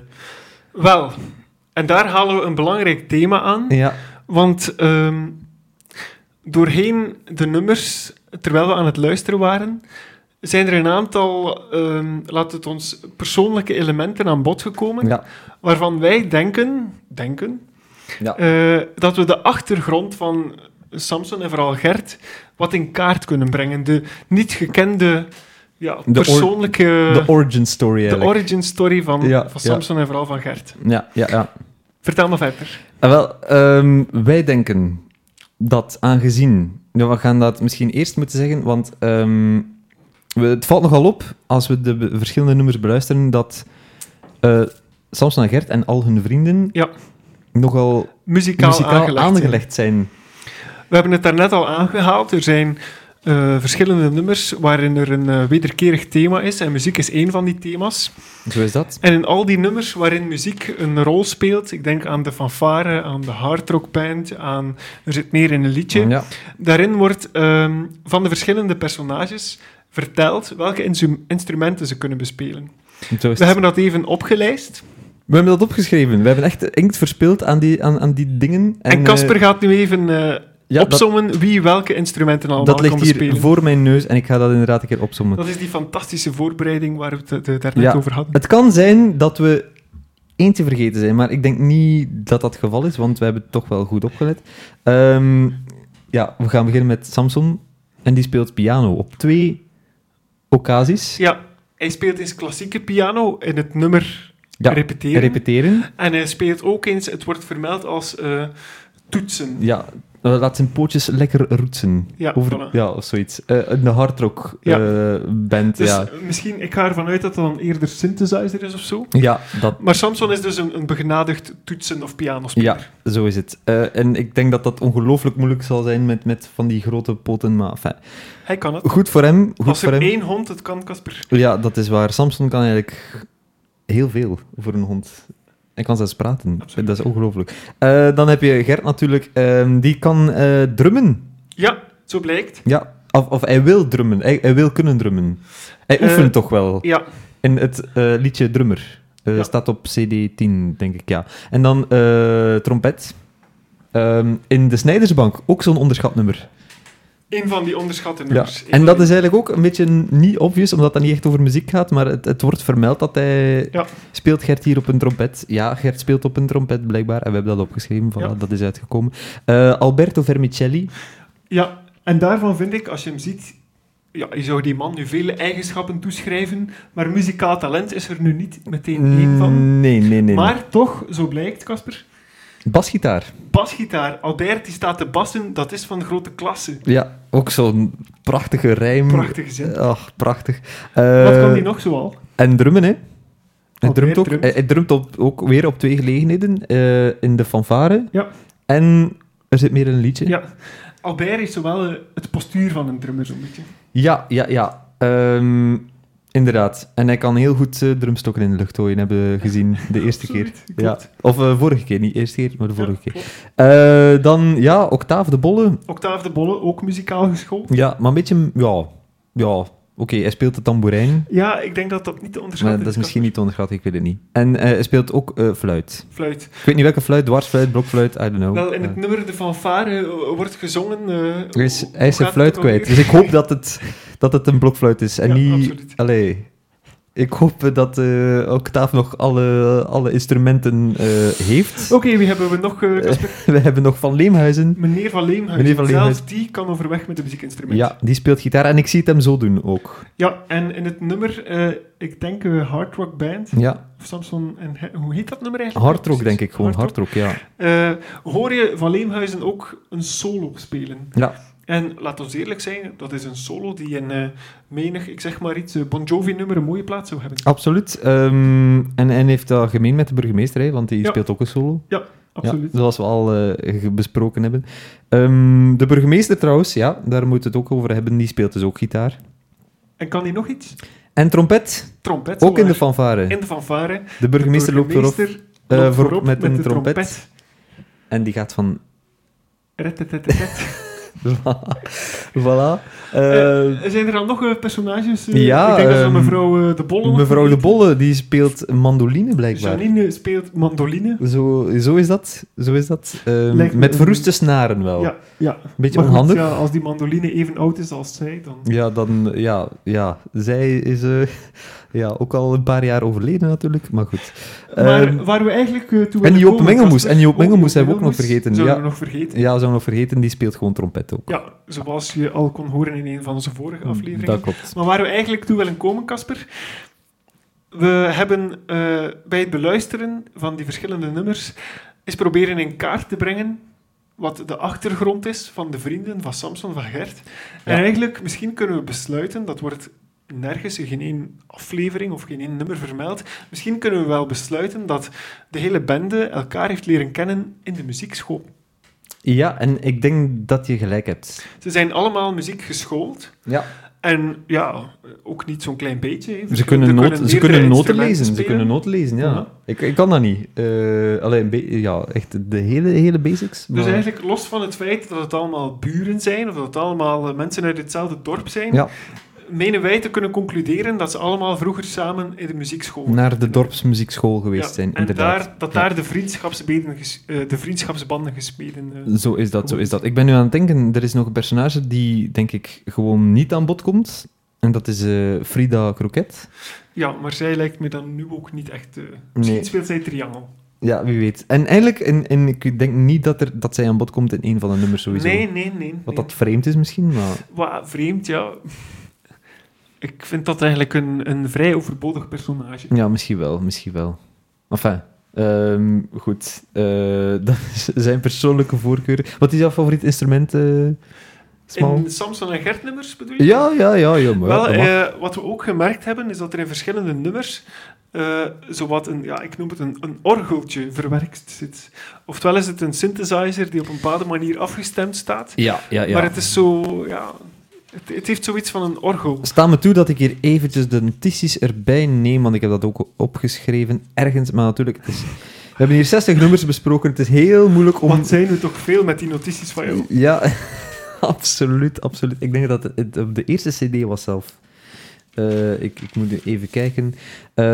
Speaker 2: Wel, en daar halen we een belangrijk thema aan.
Speaker 1: Ja,
Speaker 2: Want ehm, doorheen de nummers, terwijl we aan het luisteren waren, zijn er een aantal, ehm laat het ons, persoonlijke elementen aan bod gekomen,
Speaker 1: ja,
Speaker 2: waarvan wij denken, denken
Speaker 1: ja.
Speaker 2: eh, dat we de achtergrond van Samson en vooral Gert wat in kaart kunnen brengen. De niet gekende ja,
Speaker 1: or-
Speaker 2: persoonlijke...
Speaker 1: Eh, de origin story
Speaker 2: de
Speaker 1: eigenlijk.
Speaker 2: origin story van,
Speaker 1: Ja,
Speaker 2: van
Speaker 1: ja.
Speaker 2: Samson en vooral van Gert.
Speaker 1: ja, ja, ja.
Speaker 2: Vertel me verder.
Speaker 1: Ah, wel, ehm, wij denken dat aangezien... Ja, we gaan dat misschien eerst moeten zeggen, want ehm, we, het valt nogal op als we de be- verschillende nummers beluisteren dat eh, Samson en Gert en al hun vrienden
Speaker 2: Ja.
Speaker 1: nogal
Speaker 2: Muzikaal,
Speaker 1: muzikaal aangelegd,
Speaker 2: aangelegd. zijn.
Speaker 1: zijn.
Speaker 2: We hebben het daarnet al aangehaald. Er zijn eh, verschillende nummers waarin er een eh, wederkerig thema is. En muziek is één van die thema's.
Speaker 1: Zo is dat.
Speaker 2: En in al die nummers waarin muziek een rol speelt, ik denk aan de fanfare, aan de hardrockband, aan er zit meer in een liedje.
Speaker 1: Ja.
Speaker 2: Daarin wordt ehm, van de verschillende personages verteld welke insu- instrumenten ze kunnen bespelen.
Speaker 1: Zo is
Speaker 2: We
Speaker 1: het.
Speaker 2: hebben dat even opgelijst.
Speaker 1: We hebben dat opgeschreven. We hebben echt inkt verspild aan die, aan, aan die dingen.
Speaker 2: En Casper
Speaker 1: eh,
Speaker 2: gaat nu even eh
Speaker 1: ja, dat-
Speaker 2: opzommen wie welke instrumenten allemaal
Speaker 1: dat ligt
Speaker 2: kan
Speaker 1: hier
Speaker 2: bespelen.
Speaker 1: voor mijn neus en ik ga dat inderdaad een keer opzommen.
Speaker 2: Dat is die fantastische voorbereiding waar we het eh, daarnet
Speaker 1: Ja.
Speaker 2: over hadden.
Speaker 1: Het kan zijn dat we eentje vergeten zijn, maar ik denk niet dat dat het geval is, want we hebben het toch wel goed opgelet. Ehm, ja, we gaan beginnen met Samson. En die speelt piano op twee occasies.
Speaker 2: Ja, hij speelt eens klassieke piano in het nummer
Speaker 1: Ja,
Speaker 2: repeteren.
Speaker 1: repeteren.
Speaker 2: en hij speelt ook eens, het wordt vermeld als eh, toetsen.
Speaker 1: Ja, eh, laat zijn pootjes lekker roetsen.
Speaker 2: Ja,
Speaker 1: Over,
Speaker 2: voilà.
Speaker 1: ja of zoiets. Eh, een hardrock
Speaker 2: Ja.
Speaker 1: eh, band,
Speaker 2: Dus
Speaker 1: ja.
Speaker 2: eh, misschien, ik ga ervan uit dat dat dan eerder synthesizer is of zo.
Speaker 1: Ja, dat
Speaker 2: Maar Samson is dus een, een begenadigd toetsen- of
Speaker 1: Ja,
Speaker 2: pianospeler.
Speaker 1: zo is het. Eh, en ik denk dat dat ongelooflijk moeilijk zal zijn met, met van die grote poten. Maar enfin,
Speaker 2: Hij kan het.
Speaker 1: goed voor hem. Goed
Speaker 2: Als
Speaker 1: voor
Speaker 2: er
Speaker 1: hem.
Speaker 2: één hond het kan, Casper.
Speaker 1: Ja, dat is waar. Samson kan eigenlijk heel veel voor een hond. Hij kan zelfs praten.
Speaker 2: Absoluut.
Speaker 1: Dat is ongelooflijk. Eh, dan heb je Gert natuurlijk. Ehm, die kan eh, drummen.
Speaker 2: Ja, zo blijkt.
Speaker 1: Ja. Of, of hij wil drummen. Hij, hij wil kunnen drummen. Hij
Speaker 2: Eh,
Speaker 1: oefent toch wel.
Speaker 2: Ja,
Speaker 1: In het eh, liedje Drummer. Eh,
Speaker 2: Ja.
Speaker 1: Staat op CD10, denk ik, ja. En dan eh, trompet. Ehm, in de Snijdersbank, ook zo'n onderschat nummer.
Speaker 2: één van die onderschatte
Speaker 1: Ja.
Speaker 2: nummers. Eén
Speaker 1: En
Speaker 2: van
Speaker 1: dat
Speaker 2: die-
Speaker 1: is eigenlijk ook een beetje niet obvious, omdat dat niet echt over muziek gaat, maar het, het wordt vermeld dat hij...
Speaker 2: Ja.
Speaker 1: Speelt Gert hier op een trompet? Ja, Gert speelt op een trompet, blijkbaar. En we hebben dat opgeschreven, voilà,
Speaker 2: Ja.
Speaker 1: dat is uitgekomen. Eh, Alberto Vermicelli.
Speaker 2: Ja, en daarvan vind ik, als je hem ziet, ja, je zou die man nu vele eigenschappen toeschrijven, maar muzikaal talent is er nu niet meteen één van.
Speaker 1: Mm, Nee, nee, nee, nee.
Speaker 2: Maar toch, zo blijkt, Casper,
Speaker 1: Basgitaar.
Speaker 2: basgitaar, Albert die staat te bassen, dat is van grote klasse.
Speaker 1: Ja, ook zo'n prachtige rijm.
Speaker 2: Prachtige zin.
Speaker 1: Ach, prachtig.
Speaker 2: Wat
Speaker 1: Eh,
Speaker 2: kan die nog zoal?
Speaker 1: En drummen, hè? Hij
Speaker 2: Ook
Speaker 1: drumt,
Speaker 2: weer
Speaker 1: ook,
Speaker 2: drumt.
Speaker 1: hij, hij drumt op, ook weer op twee gelegenheden. eh, in de fanfare.
Speaker 2: Ja.
Speaker 1: En er zit meer een liedje.
Speaker 2: Ja. Albert is zowel eh, het postuur van een drummer zo'n beetje.
Speaker 1: ja, ja. ja. Ehm, inderdaad. En hij kan heel goed eh, drumstokken in de lucht gooien, hebben we gezien de eerste keer.
Speaker 2: Absoluut,
Speaker 1: Ja.
Speaker 2: klopt.
Speaker 1: Of eh, vorige keer, niet eerste keer, maar de vorige
Speaker 2: Ja,
Speaker 1: keer.
Speaker 2: klopt.
Speaker 1: Eh, dan, ja, Octave de Bolle.
Speaker 2: Octave de Bolle, ook muzikaal geschoold.
Speaker 1: Ja, maar een beetje... Ja, ja. oké, hij speelt de tamboerijn.
Speaker 2: Ja, ik denk dat dat niet te
Speaker 1: Maar
Speaker 2: onderschatten
Speaker 1: dat is misschien niet te onderschatten, ik weet het niet. En eh, hij speelt ook eh, fluit.
Speaker 2: Casper. Fluit.
Speaker 1: Ik weet niet welke fluit, dwarsfluit, blokfluit, I don't know.
Speaker 2: Wel, in
Speaker 1: Eh.
Speaker 2: het nummer De Fanfare eh, wordt gezongen... eh,
Speaker 1: Hij is,
Speaker 2: hoe-
Speaker 1: hij is
Speaker 2: hoe
Speaker 1: zijn
Speaker 2: gaat
Speaker 1: fluit
Speaker 2: het ook
Speaker 1: kwijt.
Speaker 2: weer?
Speaker 1: Dus ik hoop dat het, dat het een blokfluit is. En
Speaker 2: Ja,
Speaker 1: niet.
Speaker 2: absoluut.
Speaker 1: Allee. Ik hoop eh, dat eh Octaaf nog alle, alle instrumenten eh, heeft.
Speaker 2: Oké, wie hebben we nog? eh, Casper?
Speaker 1: We hebben nog Van Leemhuizen.
Speaker 2: meneer Van Leemhuis.
Speaker 1: Meneer Van Leemhuis.
Speaker 2: Zelfs die kan overweg met een muziekinstrument.
Speaker 1: Ja, die speelt gitaar. En ik zie het hem zo doen ook.
Speaker 2: Ja, en in het nummer, eh, ik denk eh Hard Rock Band,
Speaker 1: Ja,
Speaker 2: of Samson en... He- Hoe heet dat nummer eigenlijk?
Speaker 1: hardrock denk ik gewoon.
Speaker 2: Hard Rock.
Speaker 1: Hardrock, ja.
Speaker 2: Eh, hoor je Van Leemhuizen ook een solo spelen.
Speaker 1: Ja,
Speaker 2: En laat ons eerlijk zijn, dat is een solo die in eh, menig, ik zeg maar iets, eh, Bon Jovi-nummer een mooie plaats zou hebben.
Speaker 1: absoluut. Ehm, en, en heeft dat gemeen met de burgemeester, hè, want die
Speaker 2: Ja.
Speaker 1: speelt ook een solo.
Speaker 2: Absoluut.
Speaker 1: Ja, zoals we al eh, ge- besproken hebben. Ehm, de burgemeester trouwens, ja, daar moeten we het ook over hebben. Die speelt dus ook gitaar.
Speaker 2: En kan hij nog iets?
Speaker 1: En trompet,
Speaker 2: Trompet.
Speaker 1: ook in de
Speaker 2: zowaar.
Speaker 1: fanfare.
Speaker 2: In de fanfare.
Speaker 1: De burgemeester loopt erop eh,
Speaker 2: loopt
Speaker 1: voor-
Speaker 2: voorop
Speaker 1: met een
Speaker 2: de
Speaker 1: trompet. en die gaat van...
Speaker 2: Retetetetet.
Speaker 1: Voilà. Eh,
Speaker 2: Eh, zijn er dan nog eh, personages? eh?
Speaker 1: ja,
Speaker 2: ik denk dat
Speaker 1: ehm,
Speaker 2: dat mevrouw eh, De Bolle... nog
Speaker 1: mevrouw De
Speaker 2: vergeten.
Speaker 1: Bolle, die speelt mandoline blijkbaar.
Speaker 2: Janine eh, speelt mandoline.
Speaker 1: Zo, zo is dat. Zo is dat. Ehm,
Speaker 2: Lijkt me
Speaker 1: met
Speaker 2: een-
Speaker 1: verroeste snaren wel.
Speaker 2: Ja, ja.
Speaker 1: Beetje
Speaker 2: Maar goed,
Speaker 1: onhandig.
Speaker 2: ja, als die mandoline even oud is als zij, dan...
Speaker 1: Ja, dan, ja, ja. Zij is eh, ja, ook al een paar jaar overleden natuurlijk, maar goed.
Speaker 2: Maar
Speaker 1: Ehm,
Speaker 2: waar we eigenlijk eh, toe
Speaker 1: en
Speaker 2: willen
Speaker 1: Joop
Speaker 2: komen,
Speaker 1: Mengelmoes.
Speaker 2: Casper-
Speaker 1: En Joop
Speaker 2: oh,
Speaker 1: Mengelmoes hebben we ook nog
Speaker 2: Mengelmoes.
Speaker 1: vergeten,
Speaker 2: Zouden
Speaker 1: ja.
Speaker 2: we nog vergeten.
Speaker 1: ja, zou nog vergeten, die speelt gewoon trompet ook.
Speaker 2: Ja, zoals je al kon horen in een van onze vorige afleveringen.
Speaker 1: Mm, Dat klopt.
Speaker 2: Maar waar we eigenlijk toe willen komen, Casper. We hebben eh, bij het beluisteren van die verschillende nummers is proberen in kaart te brengen wat de achtergrond is van de vrienden van Samson van Gert. En
Speaker 1: Ja.
Speaker 2: eigenlijk, misschien kunnen we besluiten, dat wordt nergens in geen één aflevering of geen één nummer vermeld, misschien kunnen we wel besluiten dat de hele bende elkaar heeft leren kennen in de muziekschool.
Speaker 1: Ja, en ik denk dat je gelijk hebt.
Speaker 2: Ze zijn allemaal muziek geschoold.
Speaker 1: Ja.
Speaker 2: En ja, ook niet zo'n klein beetje. hè.
Speaker 1: Ze
Speaker 2: Verschillende-
Speaker 1: kunnen,
Speaker 2: er
Speaker 1: noten, ze
Speaker 2: meerdere
Speaker 1: kunnen noten
Speaker 2: instrumenten
Speaker 1: lezen. Ze
Speaker 2: spelen.
Speaker 1: kunnen noten lezen, ja.
Speaker 2: Ja.
Speaker 1: Ik, ik kan dat niet. Eh alleen, een be- ja, echt de hele, hele basics.
Speaker 2: Dus
Speaker 1: maar-
Speaker 2: eigenlijk los van het feit dat het allemaal buren zijn, of dat het allemaal eh, mensen uit hetzelfde dorp zijn,
Speaker 1: Ja,
Speaker 2: menen wij te kunnen concluderen dat ze allemaal vroeger samen in de muziekschool
Speaker 1: naar de dorpsmuziekschool geweest
Speaker 2: Ja,
Speaker 1: zijn,
Speaker 2: En
Speaker 1: inderdaad.
Speaker 2: daar, dat
Speaker 1: Ja.
Speaker 2: daar de, vriendschapsbeden ges- eh, de vriendschapsbanden gesmeden eh,
Speaker 1: Zo is dat, zo is dat. Ik ben nu aan het denken, er is nog een personage die, denk ik, gewoon niet aan bod komt. En dat is eh, Frida Kroket.
Speaker 2: Ja, maar zij lijkt me dan nu ook niet echt... eh, misschien
Speaker 1: Nee.
Speaker 2: speelt zij triangel.
Speaker 1: Ja, wie weet. En eigenlijk, en, en ik denk niet dat, er, dat zij aan bod komt in een van de nummers sowieso.
Speaker 2: Nee, nee, nee. nee.
Speaker 1: Wat dat vreemd is misschien, maar...
Speaker 2: Wa, vreemd, ja. Ik vind dat eigenlijk een, een vrij overbodig personage.
Speaker 1: Ja, misschien wel, misschien wel. Enfin, ehm, goed. Eh, dat is zijn persoonlijke voorkeur. Wat is jouw favoriet instrument, eh Smal?
Speaker 2: In Samson en Gert nummers bedoel je?
Speaker 1: Ja, ja, ja, ja. Maar ja,
Speaker 2: Wel,
Speaker 1: dat mag.
Speaker 2: eh, wat we ook gemerkt hebben, is dat er in verschillende nummers eh zowat een, ja, ik noem het een, een orgeltje verwerkt zit. Oftewel is het een synthesizer die op een bepaalde manier afgestemd staat,
Speaker 1: ja, ja, ja.
Speaker 2: maar het is zo, ja, het, het heeft zoiets van een orgel.
Speaker 1: Sta me toe dat ik hier eventjes de notities erbij neem, want ik heb dat ook opgeschreven ergens. Maar natuurlijk, het is... we hebben hier 60 nummers besproken. Het is heel moeilijk om...
Speaker 2: Want zijn we toch veel met die notities van jou?
Speaker 1: Ja, absoluut, absoluut. Ik denk dat het- het op de eerste CD was zelf. Eh, ik, ik moet even kijken. Eh,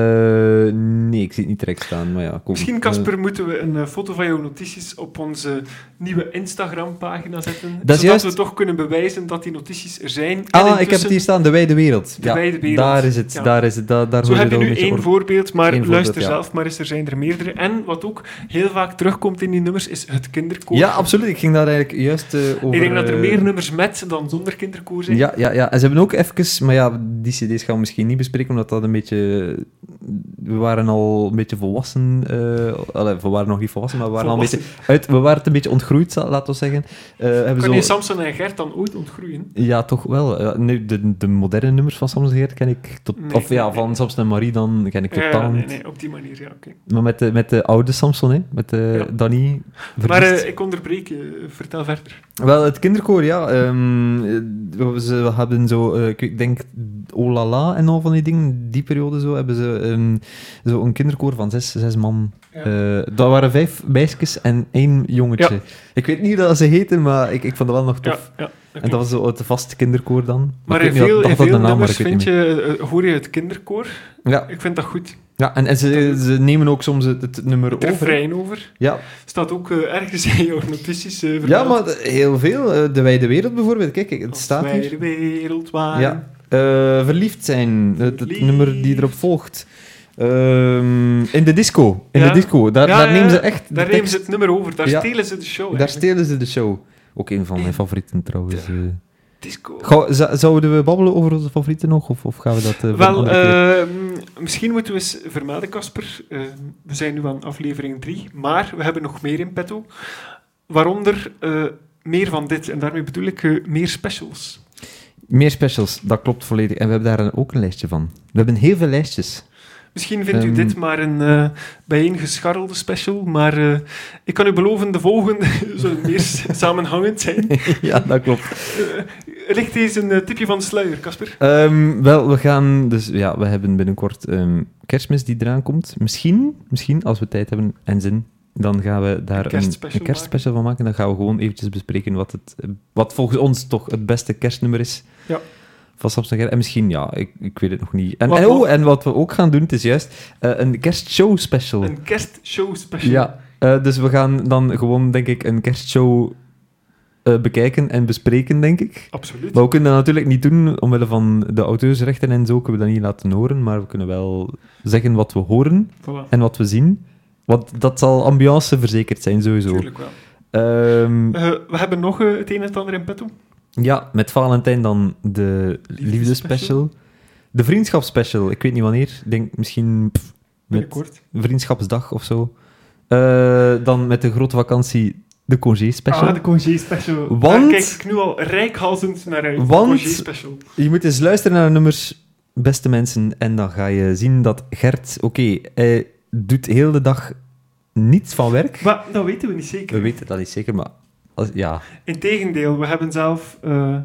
Speaker 1: nee, ik zie het niet direct staan, maar ja. Kom.
Speaker 2: Misschien, Casper, moeten we een eh, foto van jouw notities op onze nieuwe Instagram-pagina zetten.
Speaker 1: is
Speaker 2: zodat
Speaker 1: juist.
Speaker 2: we toch kunnen bewijzen dat die notities er zijn. En
Speaker 1: Eh, ah, ik heb
Speaker 2: intussen-
Speaker 1: het hier staan, De Wijde Wereld.
Speaker 2: De Wijde Wereld,
Speaker 1: Daar is het,
Speaker 2: ja.
Speaker 1: daar is het. Daar, daar
Speaker 2: Zo
Speaker 1: hoor je
Speaker 2: heb je
Speaker 1: dan
Speaker 2: nu
Speaker 1: een beetje
Speaker 2: één
Speaker 1: or-
Speaker 2: voorbeeld, maar
Speaker 1: Eén voorbeeld,
Speaker 2: luister
Speaker 1: ja.
Speaker 2: zelf maar eens, er zijn er meerdere. En wat ook heel vaak terugkomt in die nummers, is het kinderkoor.
Speaker 1: Ja, absoluut. Ik ging daar eigenlijk juist eh, over...
Speaker 2: Ik denk dat er
Speaker 1: eh,
Speaker 2: meer nummers met dan zonder kinderkoor zijn.
Speaker 1: Ja, ja, ja. En ze hebben ook even... Maar ja, die cd's gaan we misschien niet bespreken, omdat dat een beetje... We waren al een beetje volwassen. eh allee, we waren nog niet volwassen, maar we waren al een
Speaker 2: Volwassen.
Speaker 1: beetje... Uit, we waren het een beetje ontgroeid, za- laten we zeggen. Eh, hebben
Speaker 2: Kan je
Speaker 1: zo...
Speaker 2: Samson en Gert dan ooit ontgroeien?
Speaker 1: Ja, toch wel. Ja, nu, de, de moderne nummers van Samson en Gert ken ik... Tot,
Speaker 2: Nee,
Speaker 1: of ja,
Speaker 2: nee.
Speaker 1: van Samson en Marie dan ken ik
Speaker 2: Ja,
Speaker 1: totaal
Speaker 2: Eh, nee,
Speaker 1: niet.
Speaker 2: nee, op die manier, ja, oké.
Speaker 1: Maar met de, met de oude Samson, hè. Met de
Speaker 2: Ja.
Speaker 1: Danny.
Speaker 2: Maar
Speaker 1: verliefd.
Speaker 2: eh, ik onderbreek je, eh, vertel verder.
Speaker 1: Wel, het kinderkoor, ja. ehm, eh, ze hebben zo, eh, ik ik denk, Olala en al van die dingen, die periode zo, hebben ze ehm, zo een kinderkoor van zes, zes man.
Speaker 2: Ja.
Speaker 1: Eh, dat waren vijf meisjes en één jongetje.
Speaker 2: Ja.
Speaker 1: Ik weet niet dat ze heten, maar ik, ik vond dat wel nog tof.
Speaker 2: Ja, ja,
Speaker 1: En dat was zo het vaste kinderkoor dan.
Speaker 2: Maar
Speaker 1: ik
Speaker 2: in
Speaker 1: weet niet
Speaker 2: veel,
Speaker 1: of-
Speaker 2: in
Speaker 1: of dat
Speaker 2: veel
Speaker 1: de naam, maar
Speaker 2: nummers
Speaker 1: ik weet
Speaker 2: vind
Speaker 1: niet
Speaker 2: je, eh, hoor je het kinderkoor.
Speaker 1: meer. Ja,
Speaker 2: Ik vind dat goed.
Speaker 1: ja en, en ze, ze nemen ook soms het, het nummer
Speaker 2: Het
Speaker 1: over.
Speaker 2: refrein over.
Speaker 1: Ja,
Speaker 2: Staat ook eh, ergens in jouw notities eh,
Speaker 1: ja,
Speaker 2: vermeld.
Speaker 1: maar heel veel. eh, De Wijde Wereld bijvoorbeeld, kijk, kijk, het
Speaker 2: Als
Speaker 1: staat
Speaker 2: wij
Speaker 1: hier.
Speaker 2: de wereld waren.
Speaker 1: Ja. Eh, verliefd zijn, het, het
Speaker 2: Verliefd.
Speaker 1: nummer die erop volgt. Ehm, in de disco. In
Speaker 2: Ja.
Speaker 1: de disco. Daar,
Speaker 2: Ja,
Speaker 1: daar
Speaker 2: ja,
Speaker 1: nemen ze
Speaker 2: ja.
Speaker 1: echt. de
Speaker 2: Daar nemen ze het
Speaker 1: tekst-
Speaker 2: nummer over, daar
Speaker 1: Ja.
Speaker 2: stelen ze de show.
Speaker 1: daar
Speaker 2: eigenlijk.
Speaker 1: stelen ze de show. Ook een van mijn favorieten trouwens. eh.
Speaker 2: Disco.
Speaker 1: Gauw, za- zouden we babbelen over onze favorieten nog? Of, of gaan we dat eh, voor een
Speaker 2: Wel,
Speaker 1: andere keer?
Speaker 2: ehm, misschien moeten we eens vermelden, Casper. eh, we zijn nu aan aflevering 3, maar we hebben nog meer in petto. Waaronder eh, meer van dit, en daarmee bedoel ik eh, meer specials.
Speaker 1: Meer specials, dat klopt volledig. En we hebben daar ook een lijstje van. We hebben heel veel lijstjes.
Speaker 2: Misschien vindt u
Speaker 1: Ehm.
Speaker 2: dit maar een eh bijeengescharrelde special, maar eh, ik kan u beloven, de volgende zullen meer s- samenhangend zijn.
Speaker 1: ja, dat klopt.
Speaker 2: Eh, ligt deze een eh, tipje van de sluier, Casper?
Speaker 1: Ehm, wel, we gaan... Dus ja, we hebben binnenkort ehm, kerstmis die eraan komt. Misschien, misschien, als we tijd hebben en zin, Dan gaan we daar
Speaker 2: Een kerstspecial
Speaker 1: een kerstspecial van maken. Dan gaan we gewoon eventjes bespreken wat, het, eh, wat volgens ons toch het beste kerstnummer is.
Speaker 2: Ja.
Speaker 1: Van Samson Gerrit. En misschien, ja, ik, ik weet het nog niet. En,
Speaker 2: Wat
Speaker 1: en, oh,
Speaker 2: nog?
Speaker 1: en wat we ook gaan doen, het is juist eh, een kerstshow special.
Speaker 2: Een kerstshow special.
Speaker 1: Ja, eh, dus we gaan dan gewoon, denk ik, een kerstshow eh, bekijken en bespreken, denk ik.
Speaker 2: Absoluut.
Speaker 1: Maar we kunnen dat natuurlijk niet doen, omwille van de auteursrechten en zo, kunnen we dat niet laten horen, maar we kunnen wel zeggen wat we horen
Speaker 2: Voilà.
Speaker 1: en wat we zien. Want dat zal ambiance verzekerd zijn, sowieso.
Speaker 2: Tuurlijk wel.
Speaker 1: Ehm,
Speaker 2: Eh, we hebben nog eh, het een en het ander in petto.
Speaker 1: ja, met Valentijn dan de liefdespecial. De vriendschapsspecial, ik weet niet wanneer. Ik denk misschien pff, met
Speaker 2: Binnenkort.
Speaker 1: Vriendschapsdag of zo. Eh, dan met de grote vakantie de congé special.
Speaker 2: Ah, de congé special.
Speaker 1: Want-
Speaker 2: Daar kijk ik nu al rijkhalsend naar uit.
Speaker 1: Want-
Speaker 2: Congé special.
Speaker 1: Je moet eens luisteren naar de nummers, beste mensen, en dan ga je zien dat Gert, oké, hij doet heel de dag niets van werk.
Speaker 2: Maar dat weten we niet zeker.
Speaker 1: We weten dat niet zeker, maar als, ja,
Speaker 2: Integendeel, we hebben zelf eh,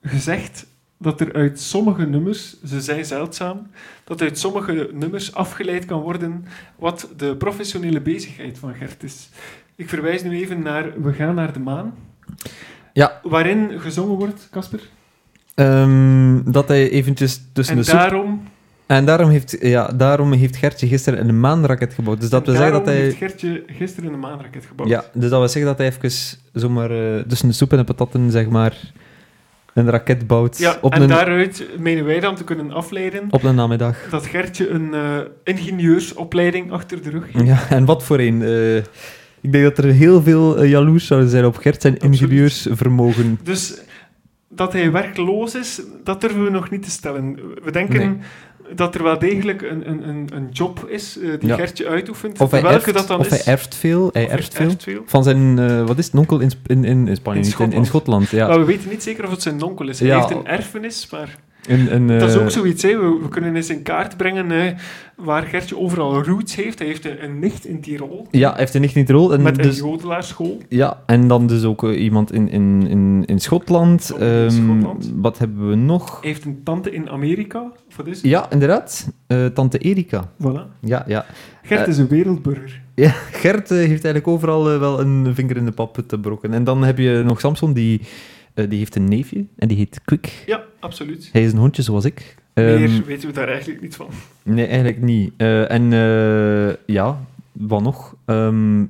Speaker 2: gezegd dat er uit sommige nummers, ze zijn zeldzaam, dat uit sommige nummers afgeleid kan worden wat de professionele bezigheid van Gert is. Ik verwijs nu even naar We gaan naar de maan.
Speaker 1: Ja.
Speaker 2: Waarin gezongen wordt, Casper.
Speaker 1: ehm, dat hij eventjes tussen
Speaker 2: En
Speaker 1: de soep...
Speaker 2: daarom,
Speaker 1: En daarom heeft, ja, daarom heeft Gertje gisteren een maanraket gebouwd. Dus dat
Speaker 2: en
Speaker 1: we zeggen dat
Speaker 2: daarom
Speaker 1: hij...
Speaker 2: heeft Gertje gisteren een maanraket gebouwd.
Speaker 1: Ja, dus dat we zeggen dat hij even zomaar eh, tussen de soep en de patatten, zeg maar, een raket bouwt
Speaker 2: Ja,
Speaker 1: op,
Speaker 2: en
Speaker 1: een,
Speaker 2: daaruit menen wij dan te kunnen afleiden
Speaker 1: op een namiddag.
Speaker 2: dat Gertje een eh, ingenieursopleiding achter de rug heeft.
Speaker 1: Ja, en wat voor een. eh, ik denk dat er heel veel eh, jaloers zouden zijn op Gert zijn
Speaker 2: Absoluut.
Speaker 1: ingenieursvermogen.
Speaker 2: Dus dat hij werkloos is, dat durven we nog niet te stellen. We denken dat er wel degelijk een, een, een, een job is eh, die
Speaker 1: Ja.
Speaker 2: Gertje uitoefent.
Speaker 1: Of, hij
Speaker 2: Welke
Speaker 1: erft,
Speaker 2: dat dan
Speaker 1: of
Speaker 2: is.
Speaker 1: hij erft veel. Hij
Speaker 2: Of hij
Speaker 1: erft veel.
Speaker 2: erft veel.
Speaker 1: Van zijn, eh, wat is het, onkel in, Sp- in, in, in Spanje,
Speaker 2: In
Speaker 1: niet, in in Schotland. ja.
Speaker 2: Maar we weten niet zeker of het zijn onkel is. Hij
Speaker 1: Ja.
Speaker 2: heeft een erfenis, maar
Speaker 1: Een- een,
Speaker 2: dat is
Speaker 1: eh,
Speaker 2: ook zoiets. Hè. We, we kunnen eens in kaart brengen eh, waar Gertje overal roots heeft. Hij heeft een, een nicht in Tirol,
Speaker 1: Ja, hij heeft een nicht in Tirol. En
Speaker 2: met een
Speaker 1: dus,
Speaker 2: jodelaarschool.
Speaker 1: ja, en dan dus ook eh, iemand in, in, in, in Schotland.
Speaker 2: Ook in
Speaker 1: Ehm,
Speaker 2: Schotland.
Speaker 1: Wat hebben we nog?
Speaker 2: Hij heeft een tante in Amerika. Wat is het?
Speaker 1: Ja, inderdaad. Eh, Tante Erika.
Speaker 2: Voilà.
Speaker 1: Ja, ja.
Speaker 2: Gert
Speaker 1: Eh.
Speaker 2: is een wereldburger.
Speaker 1: Ja, Gert eh, heeft eigenlijk overal eh, wel een vinger in de pap te brokken. En dan heb je nog Samson, die, eh, die heeft een neefje en die heet Quick.
Speaker 2: Ja, absoluut.
Speaker 1: Hij is een hondje zoals ik. Ehm,
Speaker 2: Meer weten we daar eigenlijk niet van.
Speaker 1: Nee, eigenlijk niet. Eh, en eh, ja, wat nog? Ehm,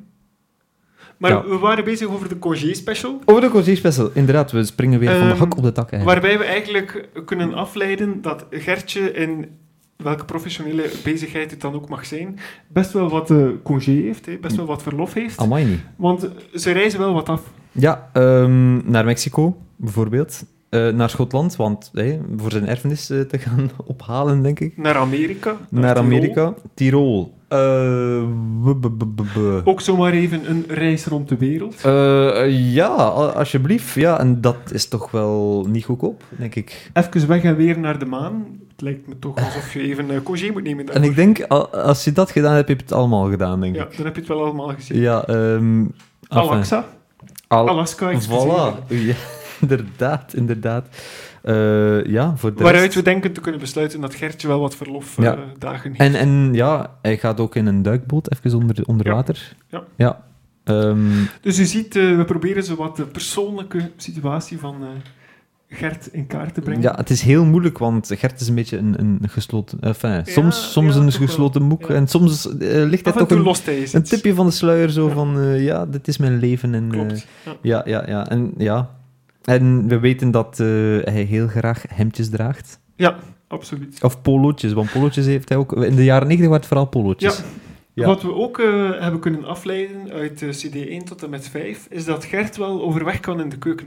Speaker 2: Maar
Speaker 1: Ja.
Speaker 2: we waren bezig over de congé special,
Speaker 1: over de conciertspecial. Inderdaad, we springen weer van de
Speaker 2: Ehm,
Speaker 1: hak op de tak. eigenlijk.
Speaker 2: waarbij we eigenlijk kunnen afleiden dat Gertje in welke professionele bezigheid het dan ook mag zijn, best wel wat eh, congé heeft, hè, best wel wat verlof heeft.
Speaker 1: Amai niet.
Speaker 2: Want ze reizen wel wat af.
Speaker 1: Ja, ehm, naar Mexico bijvoorbeeld. Eh, naar Schotland, want hey, voor zijn erfenis eh, te gaan ophalen, denk ik.
Speaker 2: Naar Amerika.
Speaker 1: Naar
Speaker 2: Tirol.
Speaker 1: Amerika. Tirol. Eh, bu- bu- bu- bu- bu.
Speaker 2: Ook zomaar even een reis rond de wereld.
Speaker 1: Eh, eh, ja, a- alsjeblieft. Ja, en dat is toch wel niet goedkoop, denk ik.
Speaker 2: Even weg en weer naar de maan. Het lijkt me toch alsof je even eh, congé moet nemen
Speaker 1: En
Speaker 2: daarvoor.
Speaker 1: ik denk, a- als je dat gedaan hebt, heb je het allemaal gedaan, denk
Speaker 2: Ja,
Speaker 1: ik.
Speaker 2: dan heb je het wel allemaal gezien.
Speaker 1: Ja, ehm enfin,
Speaker 2: Alexa.
Speaker 1: al-
Speaker 2: Alaska, excuseer.
Speaker 1: Voilà. Ja, inderdaad, inderdaad. Eh, ja, voor de
Speaker 2: Waaruit
Speaker 1: rest-
Speaker 2: we denken te kunnen besluiten dat Gertje wel wat
Speaker 1: Ja.
Speaker 2: verlofdagen dagen heeft.
Speaker 1: En, en ja, hij gaat ook in een duikboot, even onder, onder
Speaker 2: Ja.
Speaker 1: water.
Speaker 2: Ja.
Speaker 1: ja. Ehm,
Speaker 2: Dus u ziet, eh, we proberen zo wat de persoonlijke situatie van eh, Gert in kaart te brengen.
Speaker 1: Ja, het is heel moeilijk, want Gert is een beetje een, een gesloten... eh, Enfin, soms, soms
Speaker 2: ja,
Speaker 1: een
Speaker 2: toch wel.
Speaker 1: gesloten moek.
Speaker 2: Ja.
Speaker 1: En soms eh, ligt
Speaker 2: Af
Speaker 1: hij
Speaker 2: en
Speaker 1: toch
Speaker 2: toe
Speaker 1: een,
Speaker 2: lost hij eens
Speaker 1: een
Speaker 2: iets.
Speaker 1: tipje van de sluier. Zo
Speaker 2: Ja.
Speaker 1: van, eh, ja, dit is mijn leven. En, eh,
Speaker 2: Klopt. Ja.
Speaker 1: ja, ja, ja. En, ja. en we weten dat eh, hij heel graag hemdjes draagt.
Speaker 2: Ja, absoluut.
Speaker 1: Of polootjes, want polootjes heeft hij ook... In de jaren 90 waren het vooral polootjes.
Speaker 2: Ja.
Speaker 1: Ja.
Speaker 2: Wat we ook eh, hebben kunnen afleiden uit eh, CD 1 tot en met 5, is dat Gert wel overweg kan in de keuken.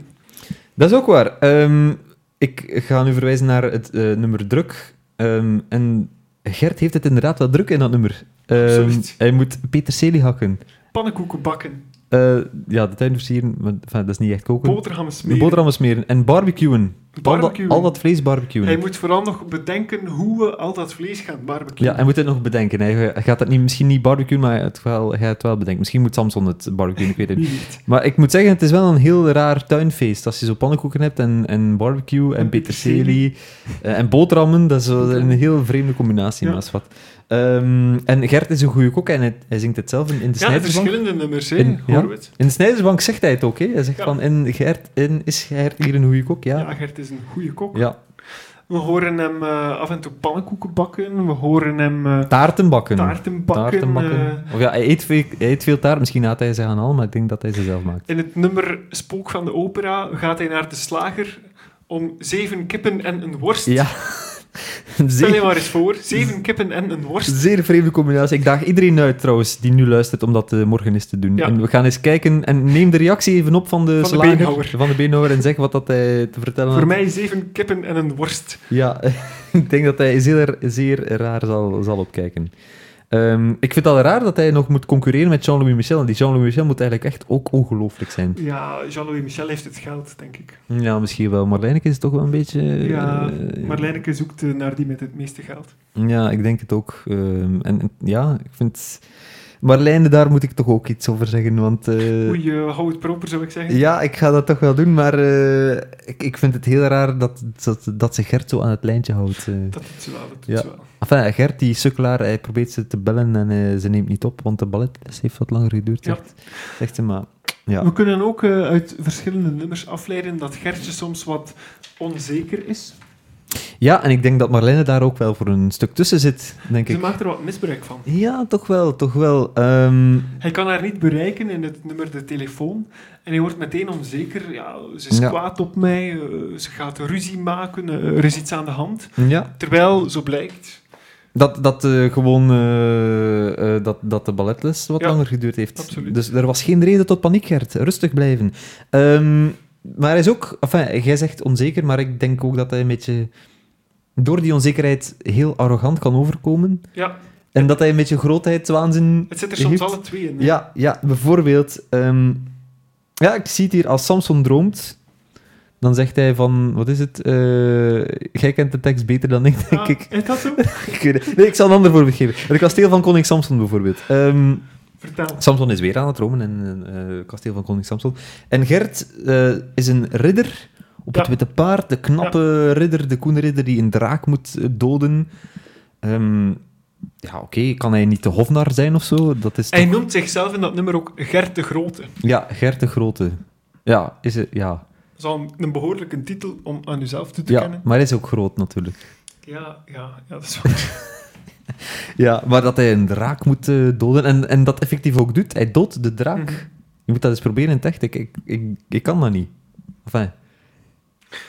Speaker 1: Dat is ook waar. Ehm, ik ga nu verwijzen naar het eh, nummer druk. Ehm, en Gert heeft het inderdaad wel druk in dat nummer. Ehm,
Speaker 2: Absoluut.
Speaker 1: hij moet peterselie hakken.
Speaker 2: Pannenkoeken bakken,
Speaker 1: Eh, ja, de tuin versieren, maar, enfin, dat is niet echt koken.
Speaker 2: boterhammen
Speaker 1: de
Speaker 2: smeren.
Speaker 1: boterhammen smeren en barbecuen. Al dat-
Speaker 2: Barbecuen.
Speaker 1: Al, dat vlees barbecuen.
Speaker 2: Hij moet vooral nog bedenken hoe we al dat vlees gaan barbecuen.
Speaker 1: Ja, hij moet het nog bedenken. Hij gaat het niet, misschien niet barbecuen, maar het wel, hij gaat het wel bedenken. Misschien moet Samson het barbecuen, ik weet het niet.
Speaker 2: Wie weet.
Speaker 1: Maar ik moet zeggen, het is wel een heel raar tuinfeest. Als je zo pannenkoeken hebt en, en barbecue en
Speaker 2: En
Speaker 1: peterselie eh, en boterhammen, dat is wel een heel vreemde combinatie,
Speaker 2: Ja.
Speaker 1: maar is wat. Ehm, en Gert is een goede kok en hij, hij zingt het zelf in, in de
Speaker 2: Ja,
Speaker 1: Snijdersbank.
Speaker 2: verschillende nummers, hè?
Speaker 1: In-
Speaker 2: In,
Speaker 1: ja. In de Snijdersbank zegt hij het ook. Hè? Hij zegt
Speaker 2: Ja.
Speaker 1: van, en Gert, en is Gert hier een goede kok?
Speaker 2: Ja.
Speaker 1: Ja.
Speaker 2: Gert is een goede kok.
Speaker 1: ja.
Speaker 2: We horen hem eh, af en toe pannenkoeken bakken. We horen hem eh,
Speaker 1: Taarten bakken.
Speaker 2: taarten bakken.
Speaker 1: Taarten bakken.
Speaker 2: eh,
Speaker 1: Of ja, hij eet, veel, hij eet veel taart. Misschien haat hij ze aan al, maar ik denk dat hij ze zelf maakt.
Speaker 2: in het nummer Spook van de Opera gaat hij naar de slager om zeven kippen en een worst.
Speaker 1: Ja.
Speaker 2: Stel je
Speaker 1: Zeer,
Speaker 2: maar eens voor, zeven kippen en een worst.
Speaker 1: zeer vreemde combinatie. Ik daag iedereen uit trouwens die nu luistert om dat eh, morgen eens te doen.
Speaker 2: Ja.
Speaker 1: En we gaan eens kijken en neem de reactie even op van de,
Speaker 2: de
Speaker 1: slager,
Speaker 2: beenhouwer.
Speaker 1: van de beenhouwer en zeg wat dat hij te vertellen
Speaker 2: Voor
Speaker 1: had.
Speaker 2: mij zeven kippen en een worst.
Speaker 1: Ja, ik denk dat hij zeer, zeer raar zal, zal opkijken. Ehm, ik vind het al raar dat hij nog moet concurreren met Jean-Louis Michel. En die Jean-Louis Michel moet eigenlijk echt ook ongelooflijk zijn.
Speaker 2: Ja, Jean-Louis Michel heeft het geld, denk ik.
Speaker 1: Ja, misschien wel. Marlijneke is toch wel een beetje... eh,
Speaker 2: Ja,
Speaker 1: eh,
Speaker 2: Marlijneke zoekt eh, naar die met het meeste geld.
Speaker 1: Ja, ik denk het ook. Ehm, en en- ja, ik vind... Marlijne, daar moet ik toch ook iets over zeggen, want... eh,
Speaker 2: Oei, eh, hou het proper, zou ik zeggen.
Speaker 1: ja, ik ga dat toch wel doen, maar eh, ik, ik vind het heel raar dat, dat, dat ze Gert zo aan het lijntje houdt. eh.
Speaker 2: Dat doet ze wel, dat doet
Speaker 1: Ja.
Speaker 2: ze wel.
Speaker 1: Enfin, Gert, die sukkelaar, hij probeert ze te bellen en eh, ze neemt niet op, want de balletles heeft wat langer geduurd,
Speaker 2: Ja.
Speaker 1: zegt, zegt ze. Maar ja,
Speaker 2: We kunnen ook eh, uit verschillende nummers afleiden dat Gertje soms wat onzeker is.
Speaker 1: ja, en ik denk dat Marlene daar ook wel voor een stuk tussen zit, denk
Speaker 2: Ze
Speaker 1: ik.
Speaker 2: maakt er wat misbruik van.
Speaker 1: Ja, toch wel, toch wel. Ehm,
Speaker 2: Hij kan haar niet bereiken in het nummer de telefoon. En hij wordt meteen onzeker. Ja, ze is
Speaker 1: Ja.
Speaker 2: kwaad op mij, eh, ze gaat ruzie maken, eh, er is iets aan de hand.
Speaker 1: ja,
Speaker 2: Terwijl, zo blijkt,
Speaker 1: dat, dat eh, gewoon eh, eh, dat, dat de balletles wat
Speaker 2: Ja,
Speaker 1: langer geduurd heeft.
Speaker 2: absoluut.
Speaker 1: Dus er was geen reden tot paniek, Gert. Rustig blijven. Ehm, maar hij is ook... Enfin, jij zegt onzeker, maar ik denk ook dat hij een beetje... Door die onzekerheid heel arrogant kan overkomen.
Speaker 2: ja,
Speaker 1: En dat hij een beetje grootheidswaanzin
Speaker 2: het zit er
Speaker 1: Je
Speaker 2: soms
Speaker 1: hebt-
Speaker 2: alle twee in. hè.
Speaker 1: ja, ja, bijvoorbeeld. ehm, ja, ik zie het hier. Als Samson droomt, dan zegt hij van... Wat is het? eh, jij kent de tekst beter dan ik, denk
Speaker 2: Ah,
Speaker 1: ik.
Speaker 2: Is dat zo?
Speaker 1: Ik weet het- Nee, ik zal een ander voorbeeld geven. Het kasteel van koning Samson bijvoorbeeld. Ehm,
Speaker 2: Vertel.
Speaker 1: Samson is weer aan het dromen in eh, het kasteel van koning Samson. En Gert eh, is een ridder op het
Speaker 2: Ja.
Speaker 1: witte paard. De knappe ridder, de koene ridder die een draak moet eh, doden. Ehm, ja, oké, kan hij niet de hofnar zijn of zo? Dat is
Speaker 2: Hij
Speaker 1: toch-
Speaker 2: noemt zichzelf in dat nummer ook Gert de Grote.
Speaker 1: Ja, Gert de Grote. Ja, is het, ja.
Speaker 2: Dat is al een, een behoorlijke titel om aan uzelf toe te
Speaker 1: ja
Speaker 2: kennen.
Speaker 1: maar hij is ook groot natuurlijk.
Speaker 2: Ja, ja, ja, dat is waar.
Speaker 1: Ja, maar dat hij een draak moet eh, doden en, en dat effectief ook doet. Hij doodt de draak.
Speaker 2: Mhm.
Speaker 1: Je moet dat eens proberen in het echt. Ik, ik, ik, ik kan dat niet. Enfin,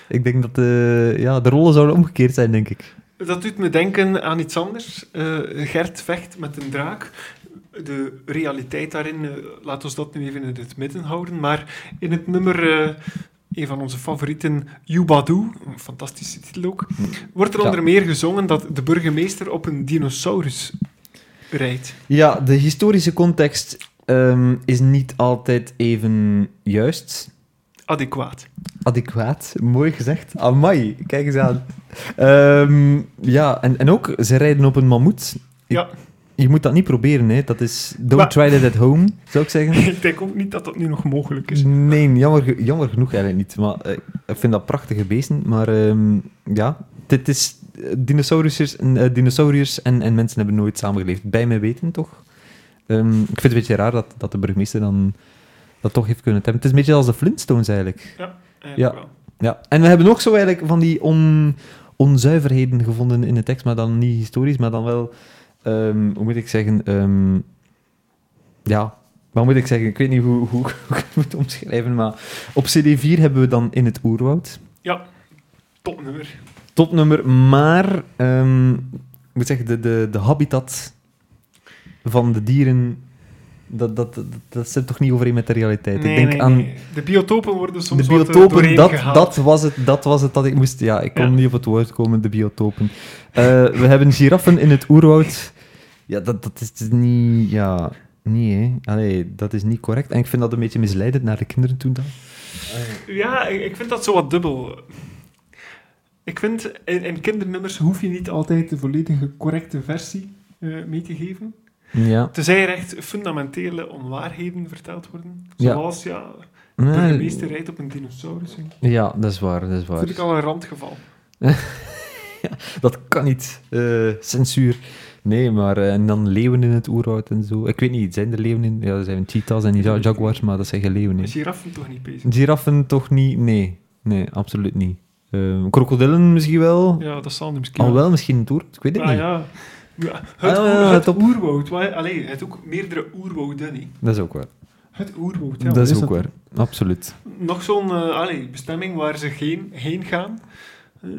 Speaker 1: ik denk dat eh, ja, de rollen zouden omgekeerd zijn, denk ik.
Speaker 2: Dat doet me denken aan iets anders. Eh, Gert vecht met een draak. De realiteit daarin, eh, laat ons dat nu even in het midden houden. Maar in het nummer, eh, een van onze favorieten, You Badoo, een fantastische titel ook, wordt er
Speaker 1: Ja.
Speaker 2: onder meer gezongen dat de burgemeester op een dinosaurus rijdt.
Speaker 1: Ja, de historische context ehm, is niet altijd even juist.
Speaker 2: Adequaat.
Speaker 1: Adequaat, mooi gezegd. Amai, kijk eens aan. Ehm, ja, en, en ook, ze rijden op een mammoet.
Speaker 2: Ja,
Speaker 1: Je moet dat niet proberen, hè. Dat is don't
Speaker 2: Maar-
Speaker 1: try that at home, zou ik zeggen.
Speaker 2: ik denk ook niet dat dat nu nog mogelijk is.
Speaker 1: Nee, jammer, ge- jammer genoeg eigenlijk niet. Maar eh, ik vind dat prachtige beesten. Maar ehm, ja, dit is eh, dinosauriërs, en, eh, dinosauriërs en, en mensen hebben nooit samengeleefd. Bij mijn weten toch? Ehm, ik vind het een beetje raar dat, dat de burgemeester dan dat toch heeft kunnen hebben. Het is een beetje als de Flintstones eigenlijk.
Speaker 2: Eigenlijk
Speaker 1: Ja.
Speaker 2: wel.
Speaker 1: Ja, en we hebben ook zo eigenlijk van die on, onzuiverheden gevonden in de tekst, maar dan niet historisch, maar dan wel, ehm, hoe moet ik zeggen, ehm, ja, wat moet ik zeggen, ik weet niet hoe, hoe, hoe ik het moet omschrijven, maar op CD4 hebben we dan In het Oerwoud,
Speaker 2: Topnummer.
Speaker 1: topnummer, maar, ehm, ik moet zeggen, de, de, de habitat van de dieren, dat, dat, dat, dat zit toch niet overeen met de realiteit. ik
Speaker 2: Nee,
Speaker 1: denk
Speaker 2: nee,
Speaker 1: aan
Speaker 2: nee. De biotopen worden soms
Speaker 1: de
Speaker 2: wat, eh,
Speaker 1: biotopen,
Speaker 2: doorheen
Speaker 1: dat,
Speaker 2: gehaald.
Speaker 1: dat, was het, dat was het dat ik moest... Ja, ik kon
Speaker 2: Ja.
Speaker 1: niet op het woord komen, de biotopen. Eh, we hebben giraffen in het oerwoud. Ja, dat, dat is dus niet... Ja, niet, hè. Allee, dat is niet correct. En ik vind dat een beetje misleidend naar de kinderen toe dan.
Speaker 2: Ja, ik ik vind dat zo wat dubbel. Ik vind, in, in kindernummers hoef je niet altijd de volledige correcte versie eh, mee te geven.
Speaker 1: Ja.
Speaker 2: Tenzij er echt fundamentele onwaarheden verteld worden.
Speaker 1: Ja.
Speaker 2: Zoals, ja, de burgemeester rijdt op een dinosaurus. hè.
Speaker 1: Ja, dat is waar, dat is
Speaker 2: Dat
Speaker 1: waar.
Speaker 2: vind ik al een randgeval.
Speaker 1: Dat kan niet. Eh, censuur. Nee, maar eh, en dan leeuwen in het oerwoud en zo. Ik weet niet, zijn er leeuwen in? Ja, er zijn cheetahs en die ja- jaguars, maar dat zijn geen leeuwen. hè.
Speaker 2: Giraffen toch niet bezig?
Speaker 1: Giraffen toch niet? Nee, nee, absoluut niet. Ehm, krokodillen misschien wel.
Speaker 2: Ja, dat zal nu misschien
Speaker 1: Al wel misschien een oer, ik weet het
Speaker 2: Ah,
Speaker 1: niet.
Speaker 2: ja. Ja,
Speaker 1: Ah,
Speaker 2: Het,
Speaker 1: ja,
Speaker 2: oer-
Speaker 1: ja,
Speaker 2: het
Speaker 1: top.
Speaker 2: oerwoud. wa- Allee, het ook meerdere oerwouden. hè.
Speaker 1: Dat is ook waar.
Speaker 2: Het oerwoud, ja.
Speaker 1: dat is,
Speaker 3: is dat?
Speaker 1: ook waar, absoluut.
Speaker 2: Nog zo'n eh, allee, bestemming waar ze geen, heen gaan. Eh,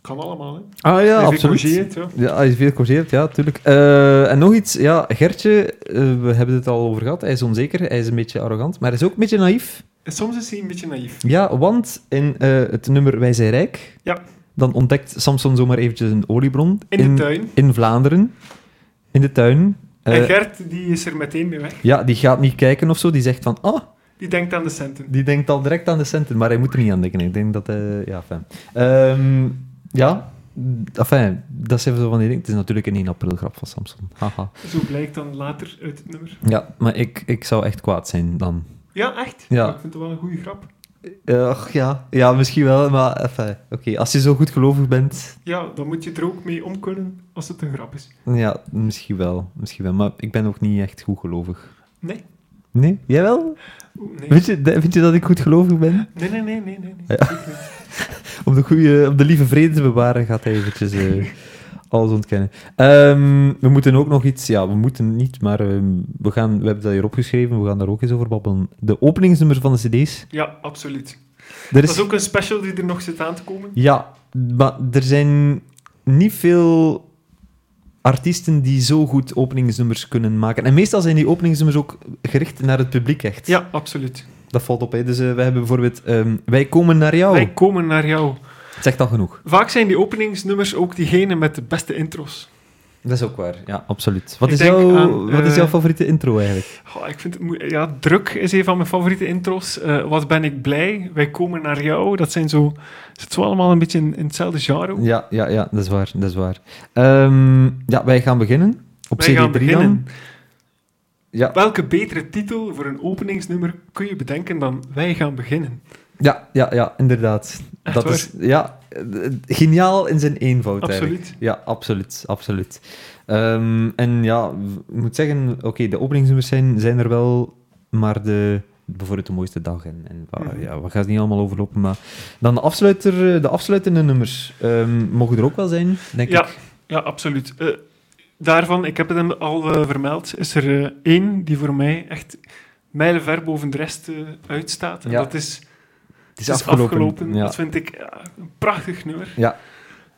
Speaker 2: kan allemaal, hè.
Speaker 1: Ah ja,
Speaker 2: Even
Speaker 1: absoluut.
Speaker 2: corrigeert, ja.
Speaker 1: Ja, hij is veel corrigeert, ja, tuurlijk. Eh, en nog iets, ja, Gertje, eh, we hebben het al over gehad, hij is onzeker, hij is een beetje arrogant, maar hij is ook een beetje naïef.
Speaker 2: En Soms is hij een beetje naïef.
Speaker 1: Ja, want in eh, het nummer Wij zijn rijk,
Speaker 2: Ja.
Speaker 1: dan ontdekt Samson zomaar eventjes een oliebron
Speaker 2: In, de tuin.
Speaker 1: in Vlaanderen, in de tuin. Eh,
Speaker 2: en Gert, die is er meteen mee weg.
Speaker 1: ja, die gaat niet kijken of zo, die zegt van, ah,
Speaker 2: Die denkt aan de centen.
Speaker 1: die denkt al direct aan de centen, maar hij moet er niet aan denken. Ik denk dat hij, ja, fijn. Ehm, ja, enfin, dat is even zo van die dingen. Het is natuurlijk een 1 april grap van Samson. Haha.
Speaker 2: Zo blijkt dan later uit het nummer.
Speaker 1: Ja, maar ik, ik zou echt kwaad zijn dan.
Speaker 2: Ja, echt?
Speaker 1: Ja.
Speaker 2: Ik vind het wel een goede grap.
Speaker 1: Eh, ach, ja. ja, misschien wel, maar enfin, oké. Als je zo goed gelovig bent,
Speaker 2: Ja, dan moet je er ook mee om kunnen als het een grap is.
Speaker 1: ja, misschien wel. Misschien wel, maar ik ben ook niet echt goed gelovig.
Speaker 2: Nee.
Speaker 1: Nee? Jij wel?
Speaker 2: Oeh, nee.
Speaker 1: Vind je, vind je dat ik goed gelovig ben?
Speaker 2: nee, nee, nee, nee, nee. nee. Zeker niet.
Speaker 1: Om de, goede, om de lieve vrede te bewaren gaat hij eventjes eh, alles ontkennen. Ehm, we moeten ook nog iets... Ja, we moeten niet, maar ehm, we, gaan, we hebben dat hier opgeschreven. We gaan daar ook eens over babbelen. De openingsnummers van de cd's.
Speaker 2: Ja, absoluut.
Speaker 1: Er
Speaker 2: Dat is ook een special die er nog zit aan te komen.
Speaker 1: Ja, maar er zijn niet veel artiesten die zo goed openingsnummers kunnen maken. En meestal zijn die openingsnummers ook gericht naar het publiek echt.
Speaker 2: Ja, absoluut.
Speaker 1: Dat valt op. Hè. Dus eh, we hebben bijvoorbeeld ehm, Wij komen naar jou.
Speaker 2: Wij komen naar jou.
Speaker 1: Het zegt al genoeg.
Speaker 2: Vaak zijn die openingsnummers ook diegene met de beste intro's.
Speaker 1: Dat is ook waar. Ja, absoluut. Wat,
Speaker 2: Ik
Speaker 1: is,
Speaker 2: denk
Speaker 1: jouw,
Speaker 2: aan,
Speaker 1: wat is
Speaker 2: eh,
Speaker 1: jouw favoriete intro eigenlijk?
Speaker 2: Goh, ik vind het moe- ja, druk is een van mijn favoriete intro's. Eh, wat ben ik blij? Wij komen naar jou. Dat zijn zo... Zit zo allemaal een beetje in, in hetzelfde genre.
Speaker 1: Ja, ja, ja, dat is waar. Dat is waar. Ehm, ja, wij gaan beginnen. Op
Speaker 2: Wij
Speaker 1: CD3
Speaker 2: gaan beginnen.
Speaker 1: dan. Ja,
Speaker 2: Welke betere titel voor een openingsnummer kun je bedenken dan Wij gaan beginnen?
Speaker 1: ja, ja, ja, inderdaad.
Speaker 2: Echt
Speaker 1: dat
Speaker 2: waar?
Speaker 1: is ja, eh, geniaal in zijn eenvoud eigenlijk.
Speaker 2: Absoluut.
Speaker 1: Ja, absoluut, absoluut. Ehm, en ja, ik moet zeggen, oké, de openingsnummers zijn, zijn er wel, maar de, bijvoorbeeld de mooiste dag en, en wa-
Speaker 2: Mhm.
Speaker 1: ja, we gaan het niet allemaal overlopen, maar dan de, afsluiter, eh, de afsluitende nummers ehm, mogen er ook wel zijn, denk
Speaker 2: Ja,
Speaker 1: ik.
Speaker 2: ja absoluut. Eh, daarvan, ik heb het hem al eh, vermeld, is er eh, één die voor mij echt mijlenver boven de rest eh, uitstaat. En
Speaker 1: Ja.
Speaker 2: dat is
Speaker 1: Het is afgelopen. Ja.
Speaker 2: Dat vind ik ja, een prachtig nummer.
Speaker 1: Ja.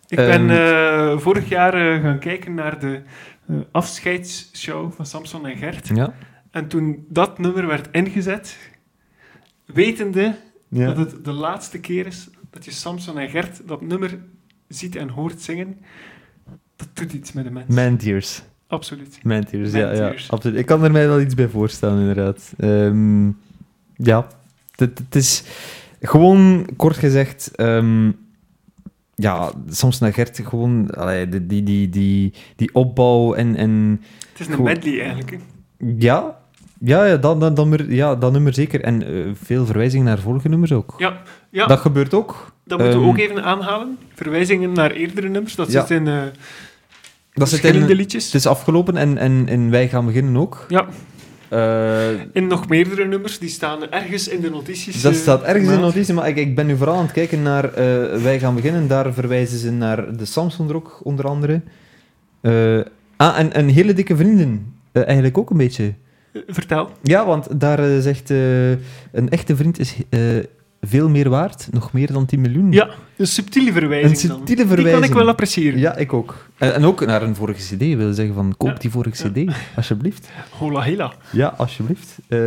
Speaker 2: Ik ben
Speaker 1: Ehm,
Speaker 2: eh, vorig jaar eh, gaan kijken naar de eh, afscheidsshow van Samson en Gert.
Speaker 1: Ja.
Speaker 2: En toen dat nummer werd ingezet, wetende dat het de laatste keer is dat je Samson en Gert dat nummer ziet en hoort zingen, dat doet iets met de mens.
Speaker 1: Man Tears.
Speaker 2: Absoluut.
Speaker 1: Man Tears,
Speaker 2: Man
Speaker 1: ja, ja,
Speaker 2: Tears.
Speaker 1: absoluut. Ik kan er mij wel iets bij voorstellen, inderdaad. Ehm, ja, het het is gewoon, kort gezegd, ehm, ja, soms naar Gert, gewoon allee, die, die, die, die, die opbouw en, en
Speaker 2: Het is een
Speaker 1: Goed.
Speaker 2: medley eigenlijk. hè.
Speaker 1: ja, ja, ja, dat, dat, dat, nummer, ja, dat nummer zeker. En eh, veel verwijzingen naar vorige nummers ook.
Speaker 2: Ja, ja.
Speaker 1: Dat gebeurt ook.
Speaker 2: Dat moeten we
Speaker 1: Ehm,
Speaker 2: ook even aanhalen. Verwijzingen naar eerdere nummers. Dat
Speaker 1: Ja.
Speaker 2: zit in eh,
Speaker 1: Dat zit
Speaker 2: verschillende
Speaker 1: in,
Speaker 2: liedjes.
Speaker 1: het is afgelopen en, en, en wij gaan beginnen ook.
Speaker 2: Ja.
Speaker 1: Eh,
Speaker 2: En nog meerdere nummers, die staan ergens in de notities.
Speaker 1: Dat
Speaker 2: eh,
Speaker 1: staat ergens in de
Speaker 2: vermeld.
Speaker 1: notitie, maar ik, ik ben nu vooral aan het kijken naar eh, Wij gaan beginnen. Daar verwijzen ze naar de Samsung Rock, onder andere. Eh, ah, en, en Hele Dikke Vrienden. eh, eigenlijk ook een beetje.
Speaker 2: Eh, Vertel.
Speaker 1: Ja, want daar eh, zegt eh, een echte vriend is eh, veel meer waard. Nog meer dan 10 miljoen.
Speaker 2: Ja, een subtiele verwijzing
Speaker 1: Een subtiele
Speaker 2: dan. Die kan
Speaker 1: verwijzing.
Speaker 2: ik wel appreciëren.
Speaker 1: Ja, ik ook. Eh, En, en ook naar een vorige cd. wil zeggen van, koop
Speaker 2: Ja.
Speaker 1: die vorige cd, alsjeblieft.
Speaker 2: Hola hela.
Speaker 1: Ja, alsjeblieft. Eh,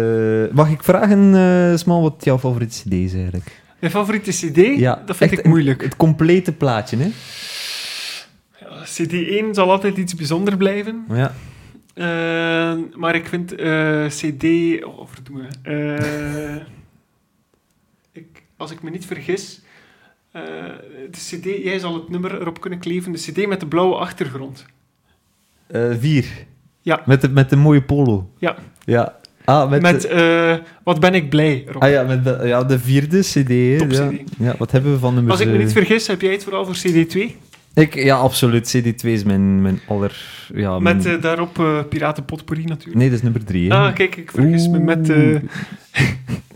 Speaker 1: mag ik vragen, eh Smal, wat jouw favoriete cd is eigenlijk?
Speaker 2: Mijn favoriete cd?
Speaker 1: Ja,
Speaker 2: dat vind
Speaker 1: echt
Speaker 2: ik
Speaker 1: een-
Speaker 2: moeilijk.
Speaker 1: Het complete plaatje, hè?
Speaker 2: Ja, cd 1 zal altijd iets bijzonder blijven.
Speaker 1: Ja.
Speaker 2: Eh, maar ik vind eh, cd... Oh, verdomme. Eh, ik, als ik me niet vergis... eh, de cd, jij zal het nummer erop kunnen kleven. De cd met de blauwe achtergrond.
Speaker 1: Eh, vier.
Speaker 2: Ja.
Speaker 1: Met de, met de mooie polo.
Speaker 2: Ja.
Speaker 1: Ja. Ah, met,
Speaker 2: Met,
Speaker 1: de,
Speaker 2: eh, Wat ben ik blij, erop.
Speaker 1: ah ja, met de, ja, de vierde CD. hè.
Speaker 2: Top
Speaker 1: ja.
Speaker 2: CD.
Speaker 1: ja, wat hebben we van nummers?
Speaker 2: Als ik me
Speaker 1: eh,
Speaker 2: niet vergis, heb jij het vooral voor CD2?
Speaker 1: Ik, ja, absoluut. CD2 is mijn, mijn aller... Ja,
Speaker 2: Met
Speaker 1: mijn-
Speaker 2: eh, daarop eh Piraten Potpourri natuurlijk.
Speaker 1: Nee, dat is nummer 3.
Speaker 2: Ah, kijk, ik vergis me met... eh,
Speaker 1: Oeh.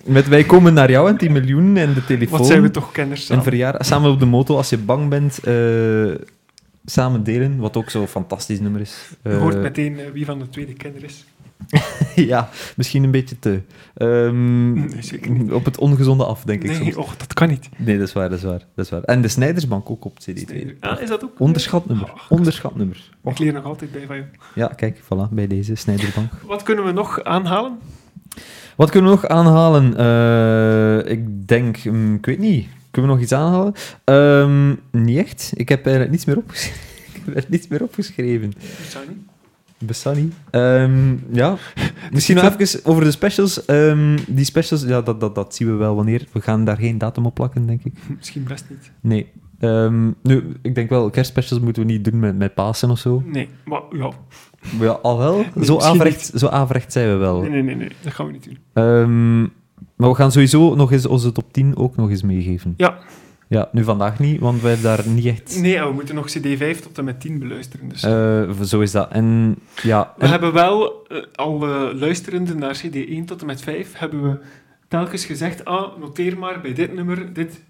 Speaker 1: Met wij komen naar jou en 10 miljoen en de telefoon.
Speaker 2: wat zijn we toch kenners
Speaker 1: Een
Speaker 2: samen.
Speaker 1: verjaardag. Samen op de moto als je bang bent. eh, samen delen, wat ook zo'n fantastisch nummer is.
Speaker 2: Je hoort
Speaker 1: Eh,
Speaker 2: meteen eh, wie van de tweede kenner is.
Speaker 1: ja, misschien een beetje te. Ehm,
Speaker 2: Nee, zeker niet.
Speaker 1: Op het ongezonde af, denk ik
Speaker 2: Nee,
Speaker 1: soms.
Speaker 2: och, dat kan niet.
Speaker 1: Nee, dat is waar, dat is waar. Dat is waar. En de Snijdersbank ook op CD2.
Speaker 2: Ah, is dat ook?
Speaker 1: Onderschat nummer.
Speaker 2: Ach,
Speaker 1: Onderschat nummer.
Speaker 2: ik leer nog altijd bij van jou.
Speaker 1: Ja, kijk, voilà, bij deze Snijderbank.
Speaker 2: Wat kunnen we nog aanhalen?
Speaker 1: Wat kunnen we nog aanhalen? Eh, ik denk, hm, ik weet niet. Kunnen we nog iets aanhalen? Ehm, niet echt. Ik heb er niets meer opgeschreven. Ik heb er niets meer opgeschreven.
Speaker 2: Sunny?
Speaker 1: Bessani. Ehm ja. Misschien nog even over de specials. Ehm, die specials, ja, dat, dat, dat zien we wel wanneer. We gaan daar geen datum op plakken, denk ik.
Speaker 2: Hm, Misschien best niet.
Speaker 1: Nee. Ehm, nu, ik denk wel, kerstspecials moeten we niet doen met, met Pasen of zo.
Speaker 2: Nee, maar ja.
Speaker 1: Oh. Maar ja, al wel. Zo
Speaker 2: misschien
Speaker 1: averecht, zo averecht zijn we wel.
Speaker 2: Nee, nee, nee, nee, dat gaan we niet doen.
Speaker 1: Ehm, maar we gaan sowieso nog eens onze top 10 ook nog eens meegeven.
Speaker 2: Ja.
Speaker 1: Ja, nu vandaag niet, want wij hebben daar niet echt...
Speaker 2: Nee, ja, Oh, we moeten nog CD5 tot en met 10 beluisteren. Dus.
Speaker 1: Eh, zo is dat. En ja...
Speaker 2: we
Speaker 1: en-
Speaker 2: hebben wel eh, al eh, luisterende naar CD1 tot en met 5 hebben we telkens gezegd: ah, noteer maar bij dit nummer, dit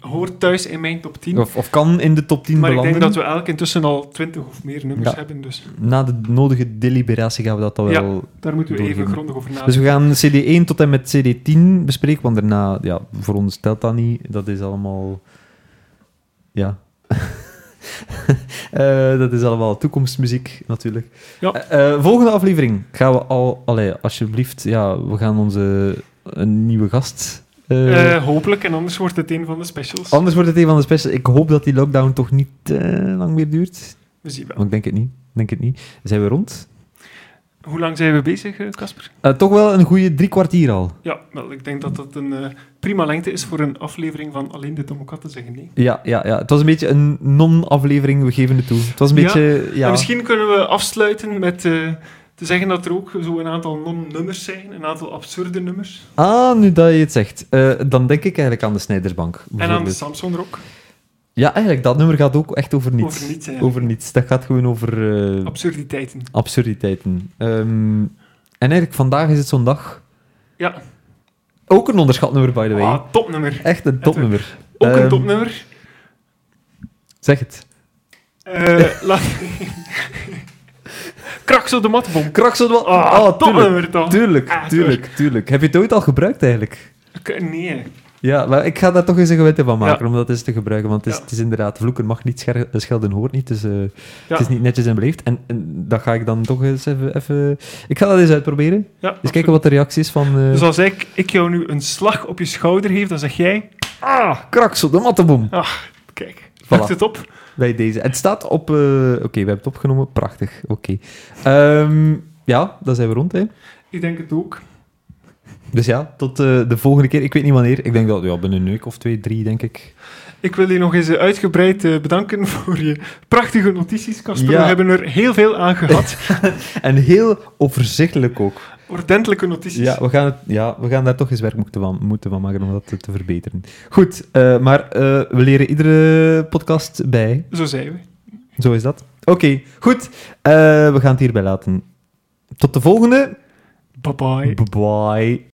Speaker 2: hoort thuis in mijn top 10.
Speaker 1: of, of kan in de top 10
Speaker 2: maar ik
Speaker 1: belanden.
Speaker 2: denk dat we elk intussen al 20 of meer nummers
Speaker 1: Ja.
Speaker 2: hebben, dus
Speaker 1: Na de nodige deliberatie gaan we dat dan
Speaker 2: Ja.
Speaker 1: wel...
Speaker 2: daar moeten we even
Speaker 1: Doorgeven.
Speaker 2: grondig over nadenken.
Speaker 1: Dus we gaan CD1 tot en met CD10 bespreken, want daarna... Ja, voor ons telt dat niet. Dat is allemaal... Ja... Eh, dat is allemaal toekomstmuziek, natuurlijk.
Speaker 2: Ja.
Speaker 1: Eh, eh, volgende aflevering gaan we al... Allee, alsjeblieft. Ja, we gaan onze... Een nieuwe gast... eh,
Speaker 2: Eh, hopelijk, en anders wordt het een van de specials.
Speaker 1: Anders wordt het een van de specials. Ik hoop dat die lockdown toch niet eh, lang meer duurt.
Speaker 2: we zien wel.
Speaker 1: Maar ik denk het niet. Ik Denk het niet. Zijn we rond?
Speaker 2: Hoe lang zijn we bezig, eh, Casper?
Speaker 1: Eh, toch wel een goede drie kwartier al.
Speaker 2: Ja, wel, ik denk dat dat een eh, prima lengte is voor een aflevering van alleen de Tomokatten zeggen nee.
Speaker 1: Ja, ja, ja. Het was een beetje een non-aflevering, we geven het toe. Het was een
Speaker 2: Ja,
Speaker 1: beetje... Ja,
Speaker 2: En misschien kunnen we afsluiten met eh, te zeggen dat er ook zo een aantal non-nummers zijn, een aantal absurde nummers.
Speaker 1: Ah, nu dat je het zegt. Eh, dan denk ik eigenlijk aan de Snijdersbank.
Speaker 2: En aan de
Speaker 1: bijvoorbeeld.
Speaker 2: Samsung Rock.
Speaker 1: Ja, eigenlijk, dat nummer gaat ook echt over niets.
Speaker 2: Over niets, eigenlijk.
Speaker 1: Over niets. Dat gaat gewoon over eh,
Speaker 2: Absurditeiten.
Speaker 1: absurditeiten. Ehm, en eigenlijk, vandaag is het zo'n dag.
Speaker 2: Ja,
Speaker 1: Ook een onderschat nummer, by the way.
Speaker 2: ah, topnummer.
Speaker 1: Echt een topnummer.
Speaker 2: Ook een
Speaker 1: Ehm,
Speaker 2: topnummer.
Speaker 1: Zeg het.
Speaker 2: Eh laat... Kraks op de matbom.
Speaker 1: Kraksel wat...
Speaker 2: Ah,
Speaker 1: Ah, tuurlijk.
Speaker 2: topnummer toch?
Speaker 1: Tuurlijk,
Speaker 2: Ah,
Speaker 1: tuurlijk, tuurlijk. Heb je het ooit al gebruikt, eigenlijk?
Speaker 2: K- Nee.
Speaker 1: Ja, maar ik ga daar toch eens een gewette van maken
Speaker 2: Ja.
Speaker 1: om dat eens te gebruiken. Want het is,
Speaker 2: Ja.
Speaker 1: het is inderdaad, vloeken mag niet, scher- schelden hoort niet. Dus eh,
Speaker 2: Ja.
Speaker 1: het is niet netjes en beleefd. En, en dat ga ik dan toch eens even, even... Ik ga dat eens uitproberen. Eens
Speaker 2: Ja,
Speaker 1: kijken wat de reactie is van... eh
Speaker 2: Dus als ik, ik jou nu een slag op je schouder geef, dan zeg jij...
Speaker 1: Ah, kraksel, de mattenboom.
Speaker 2: Ah, kijk. Pakt het op?
Speaker 1: Bij deze. Het staat op... eh, Oké, we hebben het opgenomen. Prachtig. Oké. Ehm, ja, dan zijn we rond, hè.
Speaker 2: Ik denk het ook.
Speaker 1: Dus ja, tot eh, de volgende keer. Ik weet niet wanneer. Ik denk dat... Ja, binnen een week of twee, drie, denk ik.
Speaker 2: Ik wil je nog eens eh, uitgebreid eh, bedanken voor je prachtige notities, Casper.
Speaker 1: Ja.
Speaker 2: We hebben er heel veel aan gehad.
Speaker 1: En heel overzichtelijk ook.
Speaker 2: Ordentelijke notities.
Speaker 1: Ja, we gaan, het, ja, we gaan daar toch eens werk moeten van, moeten van maken om dat te, te verbeteren. Goed, eh, maar eh, we leren iedere podcast bij.
Speaker 2: Zo zijn we.
Speaker 1: Zo is dat. Oké, goed. Eh, we gaan het hierbij laten. Tot de volgende.
Speaker 2: Bye bye.
Speaker 1: Bye.